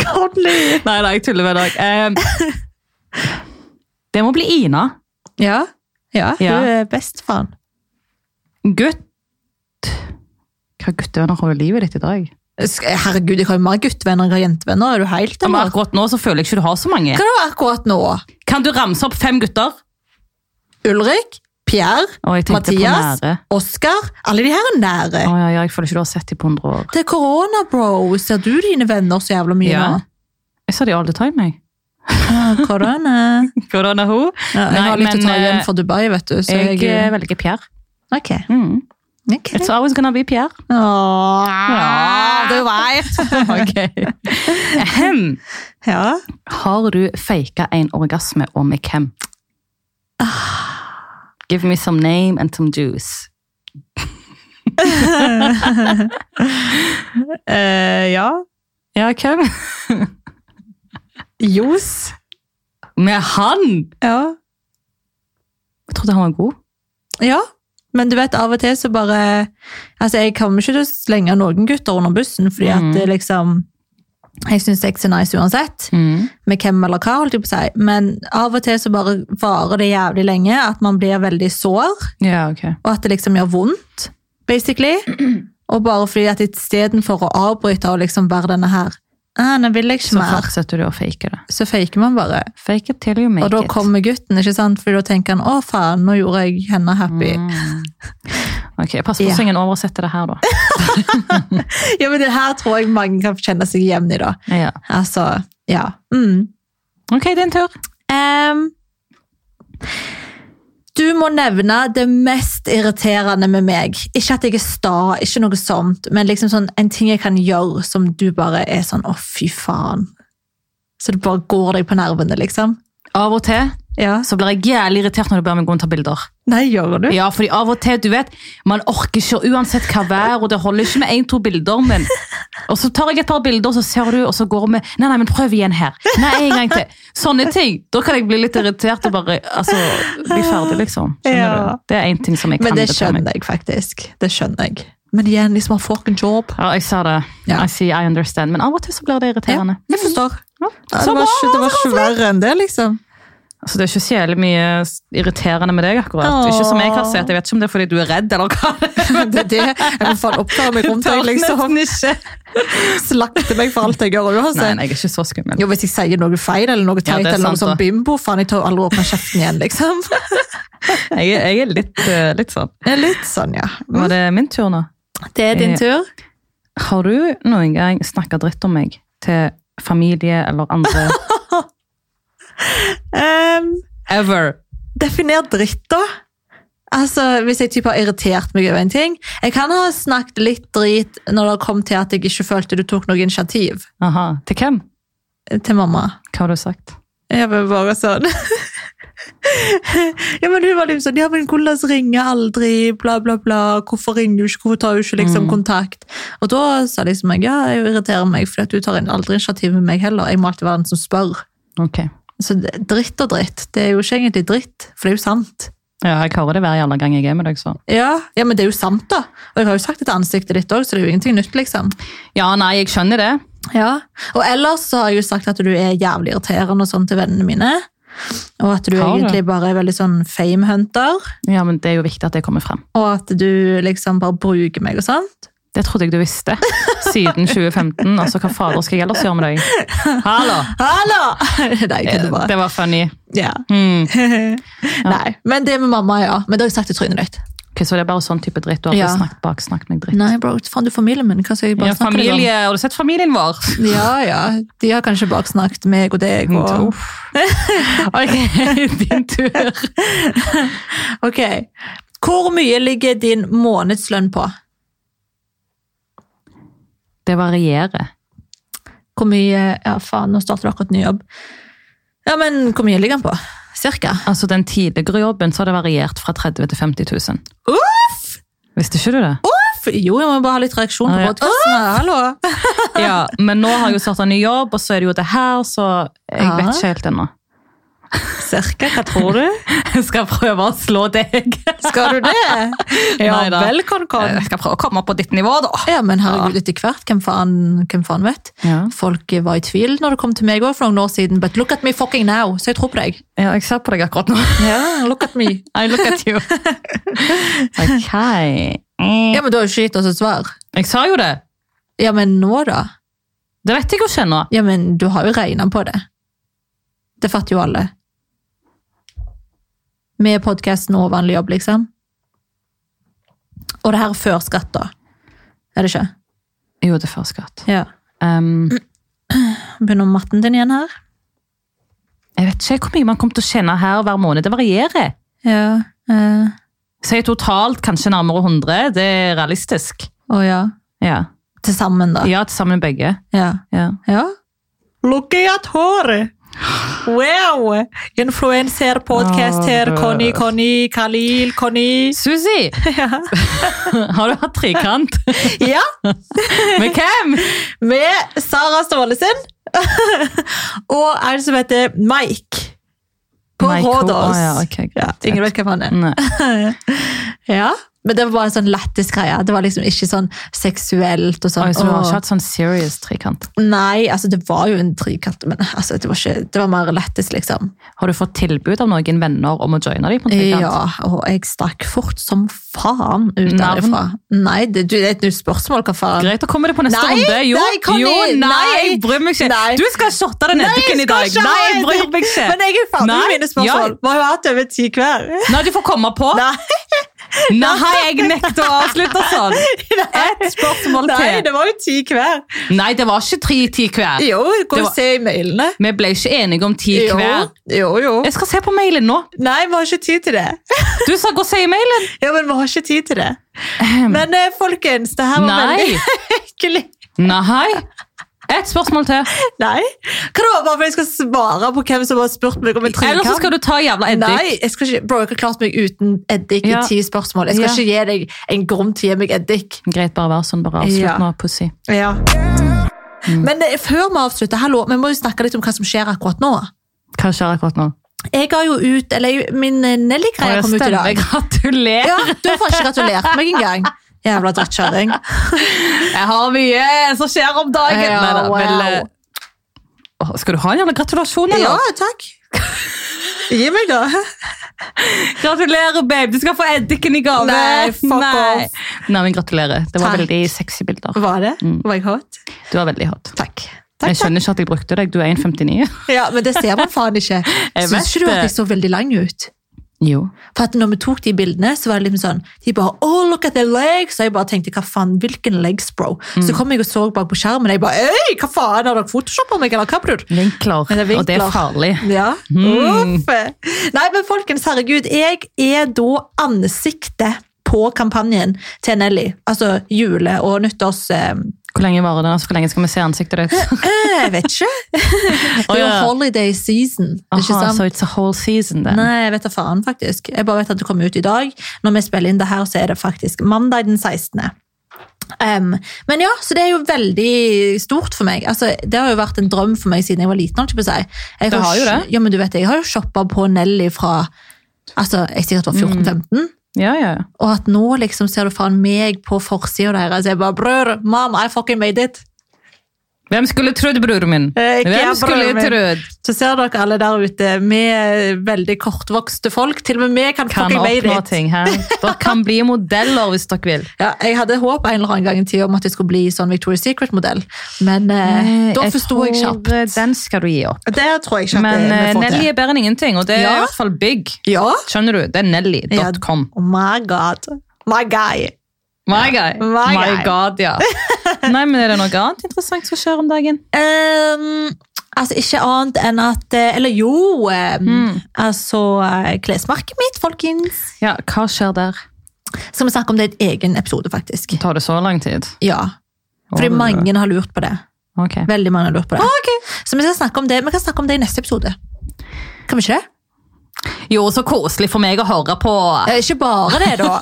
Godly!
Nei, nei, jeg tuller med deg. Eh, det må bli Ina.
Ja, ja,
Ja.
hun er best, faen.
Gutt. Hva guttevenner har du i livet ditt i dag?
Sk- Herregud, jeg har jo mer guttevenner enn jeg har jentevenner. Er du helt,
Men
eller?
akkurat nå så føler jeg ikke du har så mange.
Hva er det akkurat nå?
Kan du ramse opp fem gutter?
Ulrik, Pierre,
Å, jeg tenkte
Mathias,
på nære.
Oskar. Alle de her er nære.
Å, ja, ja, jeg føler ikke du har sett dem på 100 år.
Det er korona, bro. Ser du dine venner så jævla mye nå?
Jeg sa de all the time, jeg.
Ah, Korona.
Hvordan er hun?
Ja, jeg
Nei,
har litt å
men,
ta igjen
eh,
for Dubai, vet du. Så
Jeg
jeg,
eh, velger Pierre.
Ok.
Mm.
ok.
It's always gonna be Pierre.
Åh,
Ja.
Dubai.
Ok. Ahem.
Ja.
Har du faka en orgasme, og med hvem? Give me some name and some juice.
Eh, ja.
Ja, hvem?
Jos.
Med han!
Ja.
Jeg trodde han var god.
Ja, men du vet, av og til så bare Altså, jeg kommer ikke til å slenge noen gutter under bussen, fordi at
Mm.
det liksom Jeg syns sex er nice uansett,
Mm.
med hvem eller hva, holdt jeg på å si, men av og til så bare varer det jævlig lenge at man blir veldig sår,
Ja, ok.
og at det liksom gjør vondt, basically. Og bare fordi at istedenfor å avbryte og liksom være denne her «Ah, Nå vil jeg ikke
Så
mer,
fortsetter du å fake det.
så faker man bare.
Fake it till you make
Og da
it.
kommer gutten, ikke sant? Fordi da tenker han 'Å, faen, nå gjorde jeg henne happy'.
Mm. Ok, Pass på
Ja.
så ingen oversetter det her, da.
Ja, men det her tror jeg mange kan kjenne seg igjen i, da.
Ja.
Altså, ja. Mm.
Ok, din tur.
Em, du må nevne det mest irriterende med meg. Ikke at jeg er sta, ikke noe sånt, men liksom sånn, en ting jeg kan gjøre som du bare er sånn 'å, fy faen'. Så det bare går deg på nervene, liksom.
Av og til
Ja.
så blir jeg jævlig irritert når du ber meg gå og ta bilder.
Nei, gjør du?
Ja, fordi av og til, du vet, man orker ikke uansett hva vær, og det holder ikke med en, to bilder, men... Og så tar jeg et par bilder, så ser du, og så går vi... Nei, nei, men prøv igjen her. Nei, en gang til. Sånne ting. Da kan jeg bli litt irritert og bare, altså, bli ferdig, liksom. Skjønner
Ja.
du? Det er en ting som jeg kan
Men det
irritere meg.
skjønner jeg faktisk. Det skjønner jeg. Men igjen, liksom, man får ikke en job.
Ja, jeg sa det.
Ja.
I see, I understand. Men av og til så blir det irriterende.
jeg forstår.
Ja.
Ja, det,
Så
var
bra!
ikke, det var ikke verre enn det, liksom.
Altså, det er ikke så jævlig mye irriterende med deg akkurat.
Åh.
Ikke som jeg har sett. Jeg vet ikke om det er fordi du er redd, eller hva.
Det er det. Jeg må faen oppføre meg rundt deg, liksom.
ikke.
Slakte meg for alt jeg gjør
Nei,
uansett.
nei, jeg er ikke så skummel.
Jo, hvis jeg sier noe feil eller noe
Ja,
teit,
det er
eller noe
sant, da.
sånn bimbo, faen, jeg tar aldri åpne kjeften igjen, liksom.
Jeg, er- jeg er litt, eh, litt sånn.
Det er Litt sånn, ja.
Var det min tur nå?
Det er
din
tur.
Har du noen gang snakka dritt om meg til familie eller andre? Ever.
Ehm, definer dritt, da. Altså, Hvis jeg typ har irritert meg over en ting Jeg kan ha snakket litt drit når det kom til at jeg ikke følte du tok noe initiativ
Aha. Til hvem?
til mamma.
Hva har du sagt?
Jeg var bare sånn Ja, men hun var liksom sånn Ja, men Gullas ringer aldri, bla, bla, bla. Hvorfor ringer du ikke? Hvorfor tar hun ikke liksom kontakt? Og da sa liksom jeg ja, jeg irriterer meg, fordi at du tar en- aldri initiativ med meg heller. Jeg må alltid være den som spør.
Ok.
Så det- dritt og dritt. Det er jo ikke egentlig dritt, for det er jo sant.
Ja, jeg hører det hver jævla gang jeg er med deg, så.
Ja, ja men det er jo sant, da. Og jeg har jo sagt det til ansiktet ditt òg, så det er jo ingenting nytt, liksom.
Ja, nei, jeg skjønner det.
Ja. Og ellers så har jeg jo sagt at du er jævlig irriterende og sånn til vennene mine. Og at du
Har du?
egentlig bare er veldig sånn famehunter.
Ja, men det er jo viktig at det kommer frem.
og at du liksom bare bruker meg og sånt.
Det trodde jeg du visste siden 2015. Altså, Hva fader skal jeg ellers gjøre med deg? Hallo!
Hallo! Nei, jeg kunne bare.
Det var funny.
Ja.
Mm.
Nei, men det med mamma, ja. Men det har jeg sagt i trynet ditt.
Ok, Så det er bare sånn type dritt? Du har
Ja.
ikke snakket bak, snakket meg dritt?
Nei, bro, faen, du er familien min. Hva skal jeg bare
Ja,
snakke deg om?
familie, Har du sett familien vår?
Ja, ja. De har kanskje baksnakket meg og deg. Og...
ok, din tur.
Ok. Hvor mye ligger din månedslønn på?
Det varierer.
Hvor mye Ja, faen, nå starter du akkurat ny jobb. Ja, men hvor mye ligger den på? Cirka?
Altså Den tidligere jobben så har det variert fra 30 000 til 50 000. Visste ikke du det?
F- Jo, jeg må bare ha litt reaksjon
Ah,
på
ja.
podkasten. Hallo!
Ja, Men nå har jeg jo starta ny jobb, og så er det jo det her, så jeg vet ikke helt ennå.
Cirka, hva tror du?
Jeg skal prøve å slå deg.
Skal du det? Ja
Neida.
vel, Konkon.
Jeg skal prøve å komme opp på ditt nivå, da.
Ja, men herregud, etter hvert, hvem faen, hvem faen vet?
Ja.
Folk var i tvil når det kom til meg også for noen år siden. But look at me fucking now, så jeg tror på deg.
Ja, jeg ser på deg akkurat nå.
Ja, look at me.
I look at you. Ok.
Ja, men du har jo ikke gitt oss et svar.
Mm. Jeg sa jo det.
Ja, men nå da?
Det vet jeg jo ikke ennå.
Ja, men du har jo regnet på det. Det fatter jo alle. Med podcasten og vanlig jobb, liksom. Og det her er før skatt, da. Er det ikke?
Jo, det er før skatt.
Ja.
Um,
Begynner matten din igjen her?
jeg vet ikke hvor mye man kommer til å tjene her hver måned. Det varierer.
Ja. eh,
Si totalt kanskje nærmere 100. Det er realistisk.
Å ja.
Ja,
Til sammen, da.
ja til sammen begge.
Ja.
Ja.
ja. Looking at håret! Wow! Influenser,
podcast her, Conny,
Conny, Khalil, Conny.
Susi!
Ja.
Har du hatt trekant?
ja.
Med hvem?
med Sara Stålesen og en som heter Mike på
Mike Ho-
Rådås.
Å, ja, ok, greit,
Ja,
greit.
ingen vet hvem han er.
Nei.
Ja, men det var bare en sånn lættis greie. Det var liksom ikke sånn seksuelt og sånn.
Oi, så du har
«Åh».
ikke hatt sånn serious trekant?
Nei, altså det var jo en trikant, men altså, det, var ikke, det var mer lættis, liksom.
Har du fått tilbud av noen venner om å joine dem på en trekant?
Ja, og jeg stakk fort som faen ut
Navn?
derifra. Nei, det, du, det er et nytt spørsmål, hva faen?
Greit, da kommer det på neste
Nei,
runde. Jo,
nei, Conny,
jo, nei,
nei,
jeg bryr meg ikke.
nei.
Du skal shotte den eddiken i dag.
skal ikke
Nei,
ha
jeg bryr
det.
meg ikke.
Men jeg er ferdig
Nei,
med mine spørsmål. Hva har jeg hatt over ti hver?
Nei, du får komme på. Nei,
Nei.
jeg nekter å avslutte sånn. Ett spørsmål
Nei,
til.
det var jo ti hver.
Nei, det var ikke tre ti hver.
Jo, jeg kan
Det
jo
var-
se i mailene.
Vi ble ikke enige om ti
Jo,
hver.
jo, jo.
Jeg skal se på mailen nå.
Nei, vi har ikke tid til det.
Du sa gå og si mailen.
Ja, men vi har ikke tid til det. Men eh, folkens, det her var
Nei.
veldig hyggelig.
Nei. Ett spørsmål til.
Nei. Hva da, bare for jeg skal svare på hvem som har spurt meg om en
Eller så skal
trekant?
du ta jævla eddik.
Nei, jeg skal ikke, bro, jeg har klart meg uten eddik
Ja.
i ti spørsmål. Jeg skal
Ja.
ikke gi deg en grunn til å gi meg eddik.
Greit, bare vær sånn. Bare avslutt
Ja.
nå, pussy. Mm.
Men eh, før vi avslutter, hallo, vi må jo snakke litt om hva som skjer akkurat nå.
Hva skjer akkurat nå?
Jeg ga jo ut, eller min eh,
Å,
Nelly-greie
jeg
kom ut i
stemmer.
dag.
Gratulerer.
Ja, du får ikke gratulert meg engang. Jævla drittkjøring.
Jeg har mye som skjer om dagen.
Ja,
Neida,
wow.
vel, eh, åh, skal du ha en jævla gratulasjon,
Ja,
eller?
takk. Gi meg, da.
Gratulerer, babe. Du skal få eddiken i gave.
Nei, fuck
Nei.
off.
Nei, men gratulerer. Det var
Takk.
veldig sexy bilder.
Var det? Mm. Var jeg hot?
Du var veldig hot.
Takk.
Jeg
takk, takk.
skjønner ikke at jeg brukte deg. Du er 1,59.
Ja, men det ser man faen ikke.
Jeg vet
Syns ikke du at
det.
jeg så veldig lang ut?
Jo.
For at når vi tok de bildene, så var det liksom sånn De bare oh, look at the legs! Og jeg bare tenkte hva faen, hvilken legs, bro? Så kom jeg og så bak på skjermen, og jeg bare øy, hva faen, har dere photoshoppa meg, eller hva, bror?
Vinkler.
Men det er vinkler.
Og det er farlig.
Ja.
Mm.
Uff. Nei, men folkens, herregud. Jeg er da ansiktet på kampanjen til Nelly. Altså jule- og nyttårs... eh,
Hvor lenge varer den? Altså, hvor lenge skal vi se ansiktet ditt?
Jeg vet ikke. Det
Å,
er jo
ja.
holiday season, ikke
Aha,
sant?
så it's a whole season, then.
Nei, jeg vet da faen, faktisk. Jeg bare vet at det kommer ut i dag. Når vi spiller inn det her, så er det faktisk mandag den 16. Em, men ja, så det er jo veldig stort for meg. Altså, det har jo vært en drøm for meg siden jeg var liten. holdt Jeg, på å si. jeg
Det har jo
sj-
det.
Ja, men du vet, jeg har jo shoppa på Nelly fra altså, jeg sikkert var
Mm.
14-15.
Ja, ja. ja.
Og at nå altså, liksom ser du faen meg på forsida deres. Jeg bare bror, mom, I fucking made it.
Hvem skulle trodd, bror min?
Eh, ikke
Hvem
jeg,
skulle
bror min.
trodd?
Så ser dere alle der ute med veldig kortvokste folk. Til og med vi kan,
Kan
fucking made
oppnå
it.
ting her. Dere kan bli modeller hvis dere vil.
Ja, jeg hadde håp en eller annen gang i tida om at jeg skulle bli sånn Victoria's Secret-modell, men eh, da forsto jeg kjapt.
tror, eh, Den skal du gi opp.
Det tror jeg kjapt
Men
vi
eh,
får
Nelly
til.
er bedre enn ingenting, og det er
Ja.
i hvert fall big.
Ja?
Skjønner du? Det er nelly.com.
Oh my god. My guy.
My guy.
My guy.
god, ja. Nei, men er det noe annet interessant som skjer om dagen?
Ehm, altså, ikke annet enn at eh, Eller jo ehm, Altså, eh, klesmerket mitt, folkens.
Ja, hva skjer der?
Skal vi snakke om det i en egen episode, faktisk?
Tar det så lang tid?
Ja. Fordi
Å,
mange har lurt på det.
Ok.
Veldig mange har lurt på det.
Ok.
Så vi skal snakke om det Vi kan snakke om det i neste episode. Kan vi ikke det?
Jo, så koselig for meg å høre på
Eh, Ikke bare det, da.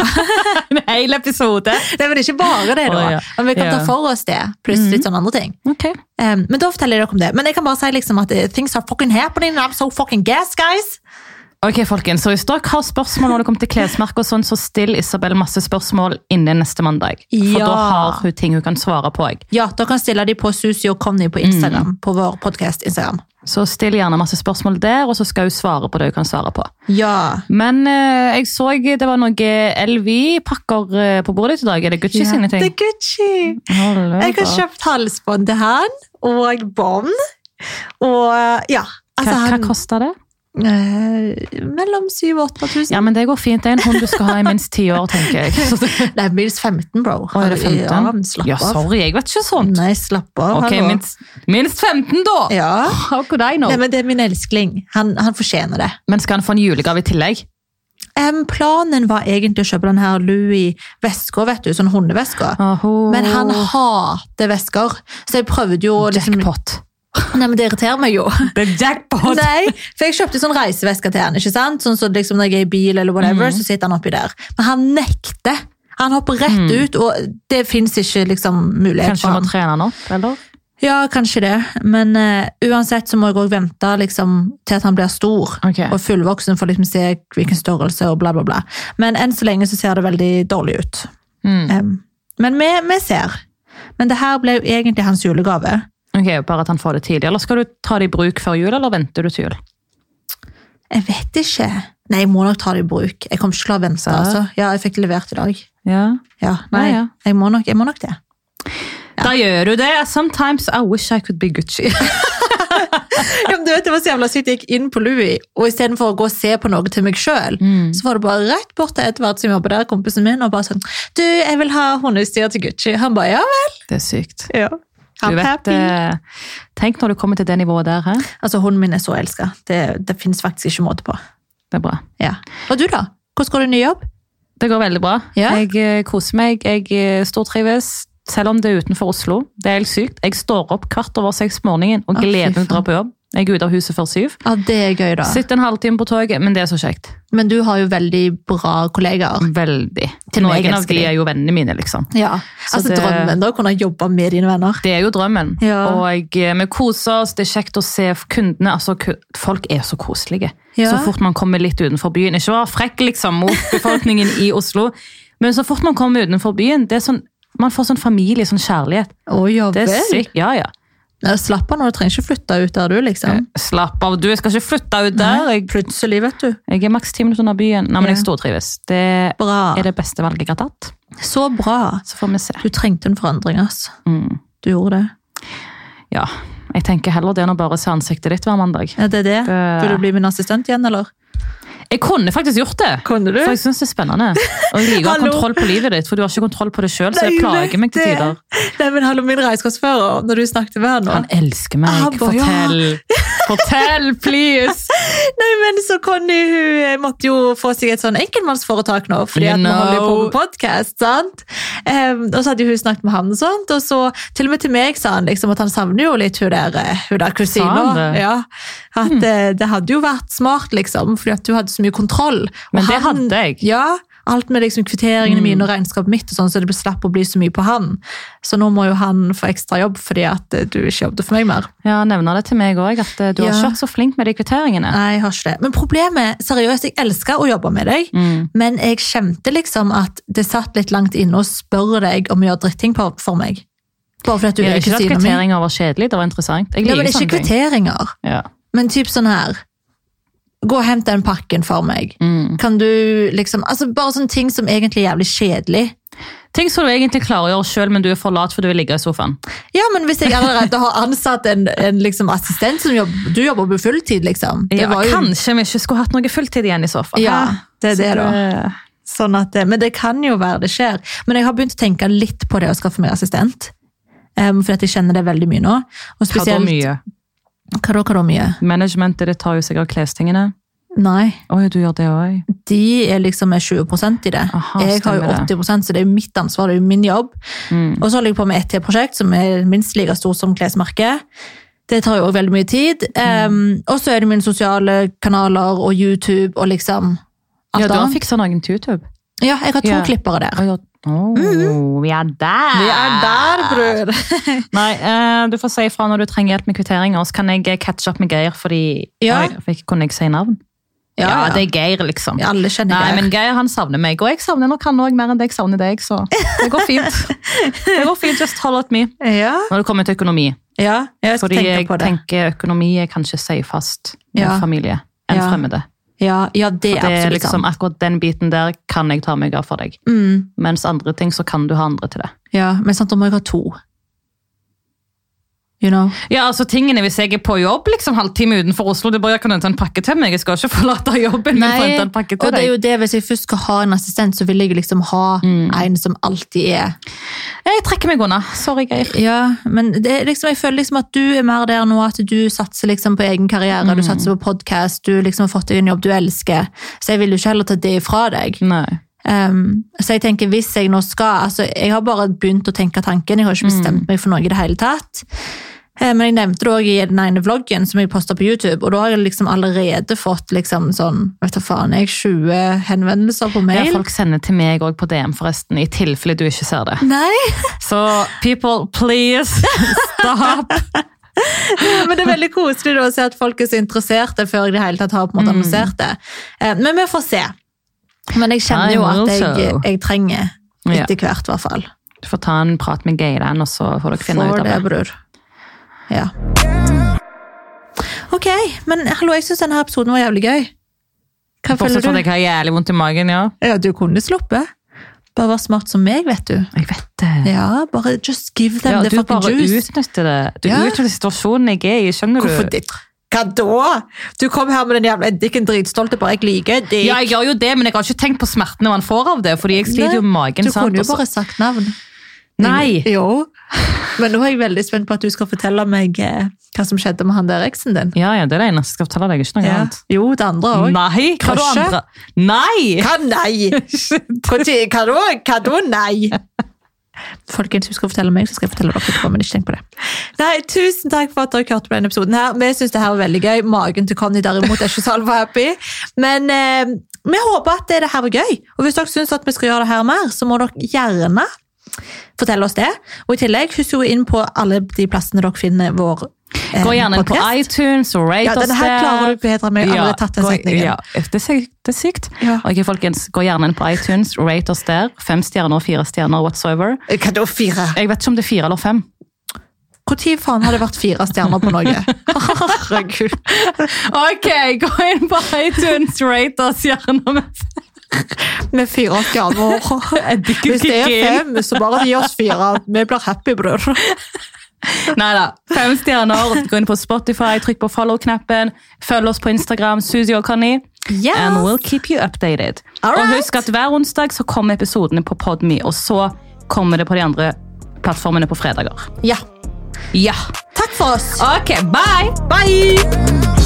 en hel episode.
Nei, men ikke bare det, da.
Å, ja.
Men vi kan ta
Ja. Mm.
for oss det, pluss litt sånn andre ting.
Ok.
Um, men da forteller jeg dere om det. Men jeg kan bare si liksom at eh, things are fucking happening, and I'm so fucking gas, guys.
Ok, folkens, så Hvis dere har spørsmål når det kommer til klesmerker, og sånn, så still Isabel masse spørsmål innen neste mandag. For
Ja.
da har hun ting hun kan svare på. jeg.
Ja, dere kan stille de på Susi og Conny
Mm.
på Instagram, på vår podcast Instagram.
Så still gjerne masse spørsmål der, og så skal hun svare på det hun kan svare på.
Ja.
Men eh, jeg så det var noen LV-pakker eh, på bordet ditt i dag. Er det Gucci sine
Det
ting?
er Gucci.
Hallo,
Jeg har
da.
kjøpt halsbånd til han, og bånd. Og ja. Altså,
hva, hva
han
koster det?
eh, Mellom 7000 og 8000.
Ja, men Det går fint. Det er en hund du skal ha i minst ti år, tenker jeg. Så det,
Nei, minst 15, bro.
Å, er det 15?
Ja, men slapp
ja,
av.
sorry, jeg vet ikke sånt.
Nei, slapp av.
Ok,
hallo.
minst, minst 15, da!
Ja.
How could I know?
Nei, men det er min elskling. Han, han fortjener det.
Men skal han få en julegave i tillegg?
Em, planen var egentlig å kjøpe den her Louis-veska, vet du, sånn hundeveska.
Aho.
Men han hater vesker, så jeg prøvde jo å liksom,
Jackpot.
Nei, men det irriterer meg jo.
Det er jackpot!
Nei, for jeg kjøpte sånn reiseveske til han, ikke sant? Sånn så liksom når jeg er i bil eller whatever,
Mm.
så sitter han oppi der. Men han nekter. Han hopper rett ut, og det fins ikke liksom mulighet
Mm. Kanskje
for
han
han.
må trene han opp, eller?
Ja, kanskje det. Men eh, uansett så må jeg òg vente liksom, til at han blir stor
Ok.
og fullvoksen, for å liksom, se hvilken størrelse og bla, bla, bla. Men enn så lenge så ser det veldig dårlig ut.
Mm.
Em, men vi, vi ser. Men det her ble jo egentlig hans julegave.
Ok, Bare at han får det tidlig. Eller skal du ta det i bruk før jul, eller venter du til jul?
Jeg vet ikke. Nei, jeg må nok ta det i bruk. Jeg kommer ikke til å la vente.
Så.
Altså. Ja, jeg fikk det levert i dag.
Ja.
Ja, nei,
Ja, ja.
Jeg, må nok, jeg må nok det.
Da gjør du det. Sometimes I wish I could be Gucci.
Ja, men du vet, det var så jævla sykt. Jeg gikk inn på Louis, og istedenfor å gå og se på noe til meg sjøl, så var det bare rett bort til Edvard som jobber der, kompisen min, og bare sånn Du, jeg vil ha hundeutstyr til Gucci. Han bare ja vel.
Det er sykt.
Ja.
Du vet, eh, tenk når du kommer til det nivået der. He?
Altså, hunden min er så elska. Det, det fins faktisk ikke måte på.
Det er bra.
Ja. Og du, da? Hvordan går det i ny jobb?
Det går veldig bra.
Ja.
Jeg eh, koser meg, jeg eh, stortrives. Selv om det er utenfor Oslo. Det er helt sykt. Jeg står opp kvart over seks på morgenen og
Å, fy
gleder meg til å dra
faen.
på jobb. Jeg er ute av huset før syv.
Ja, det er gøy, da.
Sitter en halvtime på toget, men det er så kjekt.
Men du har jo veldig bra kollegaer.
Veldig.
Til meg
Noen av
elsker
de
de.
er jo vennene mine, liksom.
Ja.
Så
Altså,
det-
drømmen, da. å Kunne jobbe med dine venner.
Det er jo drømmen.
Ja.
Og eh, vi koser oss, det er kjekt å se kundene. Altså, ku- folk er så koselige.
Ja.
Så fort man kommer litt utenfor byen. Ikke være frekk liksom, mot befolkningen i Oslo, men så fort man kommer utenfor byen, det er sånn, man får sånn familie, sånn kjærlighet.
Å, ja
Det
vel.
er sykt. Ja, ja.
Ja, Slapp av nå, du trenger ikke flytte ut der, du, liksom.
Slapp av, du. Jeg skal ikke flytte ut der. Jeg,
Plutselig, vet du.
jeg er maks ti minutter unna byen. Nei, men
Ja.
jeg stortrives. Det
Bra.
er det beste valget jeg har tatt.
Så bra.
Så får vi se.
Du trengte en forandring, ass.
Mm.
Du gjorde det.
Ja. Jeg tenker heller det enn å bare se ansiktet ditt hver mandag.
Ja, det er det.
Det-
Vil du bli min assistent igjen, eller?
Jeg kunne faktisk gjort det.
Kunne du?
For jeg syns det er spennende. Og jeg liker å ha
Hallo.
kontroll på livet ditt, for du har ikke kontroll på det sjøl, så
Nei,
jeg plager meg til
det-
tider.
Nei, men hallo, min reisekorsfører, når du snakket med han nå.
Han elsker meg.
Ah, boy, ja.
Fortell! Fortell, please!
Nei, men så Conny, hun eh, måtte jo få seg et sånn enkeltmannsforetak nå, fordi
You
at vi
know.
holder jo på med podcast, sant? Em, og så hadde jo hun snakket med han og sånt, og så til og med til meg sa han liksom at han savner jo litt hun der, eh, hun der kusina.
Sa han det? Hmm.
Ja, at eh, det hadde jo vært smart liksom, fordi at du hadde så mye kontroll. Og
Men det hadde jeg. Hmm.
Ja, alt med liksom kvitteringene mine og regnskapet mitt, og sånn, så det ble slapp å bli så mye på han. Så nå må jo han få ekstra jobb, fordi at eh, du ikke jobbet for meg mer.
Ja, nevner det til meg òg, at eh, du har
Ja.
ikke vært så flink med de kvitteringene.
Nei, jeg har ikke det. Men problemet, seriøst, jeg elsker å jobbe med deg,
Mm.
men jeg kjente liksom at det satt litt langt inne å spørre deg om å gjøre dritting på- for meg. Bare fordi at du
Jeg,
ikke
ikke at
sier noe mer.
kvitteringer var kjedelig, det var interessant. Jeg
Ja,
liker
men ikke
sånne sånn ting.
kvitteringer.
Ja.
Men typ sånn her Gå og hent den pakken for meg.
Mm.
Kan du liksom Altså bare sånne ting som egentlig er jævlig kjedelig.
Ting som du egentlig klarer å gjøre sjøl, men du er for lat for du vil ligge i sofaen.
Ja, men hvis jeg allerede har ansatt en, en liksom assistent som jobber Du jobber på fulltid, liksom. Det
Ja,
var jo-
Kanskje vi ikke skulle hatt noe fulltid igjen i sofaen.
Ja, det er det, da.
da.
Sånn at, det- men det kan jo være det skjer. Men jeg har begynt å tenke litt på det å skaffe meg assistent. Um, for at jeg kjenner det veldig mye nå. Og
Hva da
spesielt,
mye?
Hva da, hva da mye?
Managementet det tar jo seg av klestingene.
Nei,
Oi, du gjør det òg.
de er liksom er 20 i det.
Aha,
jeg har jo
stemmer det.
80 så det er jo mitt ansvar, det er jo min jobb.
Mm.
Og så holder jeg på med et til prosjekt som er minst like stort som klesmerket. Det tar jo også veldig mye tid.
Mm.
Um, og så er det mine sosiale kanaler og YouTube og liksom alt
Ja, du har
annet.
fiksa noen til YouTube.
Ja, jeg har to
Ja.
klippere der.
Å, ja. Å,
Mm-hmm.
vi er der!
bror!
Nei, eh, du får si ifra når du trenger hjelp med kvitteringer, så kan jeg catche opp med Geir, fordi
Ja.
Oi, for ikke kunne jeg si navn.
Ja,
Ja,
ja.
det er Geir, liksom.
Alle kjenner
Nei,
Geir.
men Geir han savner meg, og jeg savner nok han òg mer enn det jeg savner deg, så det går fint. Det går fint, just holler at me.
Ja,
Når det kommer til økonomi,
ja jeg skal
fordi
tenke
jeg
på det.
tenker økonomi er kanskje safe fast med
Ja.
familie enn
Ja.
fremmede.
Ja, ja, det er
Det er
absolutt
liksom
sant.
akkurat den biten der kan jeg ta meg av for deg,
Mm,
mens andre ting så kan du ha andre til det.
ja, men sant, da må jeg ha to. You know?
Ja, altså tingene Hvis jeg er på jobb liksom halvtime utenfor Oslo, du bare jeg kan hente en pakke til meg. Jeg skal ikke forlate jobben min for å hente en pakke
og det er
til deg.
jo det, hvis jeg først skal ha en assistent, så vil jeg jo liksom ha en som alltid er
Jeg trekker meg unna. Sorry, Geir.
Ja, men det er liksom, jeg føler liksom at du er mer der nå at du satser liksom på egen karriere, du satser på podcast, du liksom har fått deg en jobb du elsker, så jeg vil jo ikke heller ta det ifra deg.
Nei.
Um, så jeg tenker hvis jeg nå skal, altså jeg har bare begynt å tenke tanken, jeg har ikke bestemt
Mm.
meg for noe i det hele tatt. Eh, Men jeg nevnte det også i den ene vloggen som jeg postet på YouTube, og da har jeg liksom allerede fått liksom sånn, vet du faen, jeg 20 henvendelser på
Ja,
mail.
folk sender til meg òg på DM, forresten, i tilfelle du ikke ser det.
Nei,
Så people, please, stop.
men det er veldig koselig da, å se at folk er så interesserte før jeg i det hele tatt har på en måte
Mm.
annonsert det. Eh, Men vi får se. Men jeg kjenner jo at jeg, jeg trenger
Ja.
etter hvert, i hvert fall.
Du får ta en prat med Geir, den, og så får dere finne
For
ut av
det,
det.
bror. Ja. Ok, men hallo, jeg syns denne episoden var jævlig gøy. Hva føler
Bortsett fra at
du?
jeg har jævlig vondt i magen, ja.
Ja, du kunne sluppet. Bare vær smart som meg, vet du.
Jeg vet det.
Ja, bare just give them
Ja,
the
du
fucking
bare
juice.
utnytter det. Du
Ja.
utnytter situasjonen jeg er i, skjønner du?
Hvorfor det? Hva da? Du kom her med den jævla dikken dritstolte, bare jeg liker det.
Ja, jeg gjør jo det, men jeg har ikke tenkt på smertene man får av det, fordi jeg sliter jo med magen.
Du kunne jo
og så-
bare sagt navn.
Nei!
Jo. Men nå er jeg veldig spent på at du skal fortelle meg eh, hva som skjedde med han der eksen din.
Ja, ja, det er det eneste jeg skal fortelle deg, ikke noe
Ja.
annet.
Jo, det andre òg.
Nei! Hva da,
Krasje?
andre? Nei!
Hva nei? Hva ti- hva da? Hva da nei? Folkens, husk å fortelle meg, så skal jeg fortelle dere etterpå. men ikke tenk på det. Nei, Tusen takk for at dere hørte på denne episoden. her. Vi syns det her var veldig gøy. Magen til Conny derimot er ikke så alvorlig happy. Men eh, vi håper at det her var gøy. Og hvis dere syns at vi skal gjøre det her mer, så må dere gjerne fortelle oss det. Og i tillegg, husk jo inn på alle de plassene dere finner vår eh,
Gå gjerne inn på
podcast.
iTunes og rate
Ja,
oss
den her klarer du bedre enn meg. Jeg har allerede tatt den
gå-
setningen.
Ja, det er sykt. Det er sykt.
Ja.
Ok, folkens, gå gjerne inn på iTunes, rate oss der. Fem stjerner, fire stjerner, whatsoever.
Hva da, fire?
Jeg vet ikke om det er fire eller fem.
Når faen har det vært fire stjerner på noe? Herregud.
Ok, gå inn på iTunes, rate oss gjerne med
Med fire stjerner. Hvis det er fem, så bare gi oss fire. Vi blir happy, bror.
Nei da. Fem stjerner. Gå inn på Spotify, trykk på follow-knappen. Følg oss på Instagram, Suzy og Conny.
Yes.
And we'll keep you updated.
All
Og
right.
husk at hver onsdag så kommer episodene på Podme, og så kommer det på de andre plattformene på fredager.
Ja.
Ja.
Takk for oss.
Ok, bye! Bye!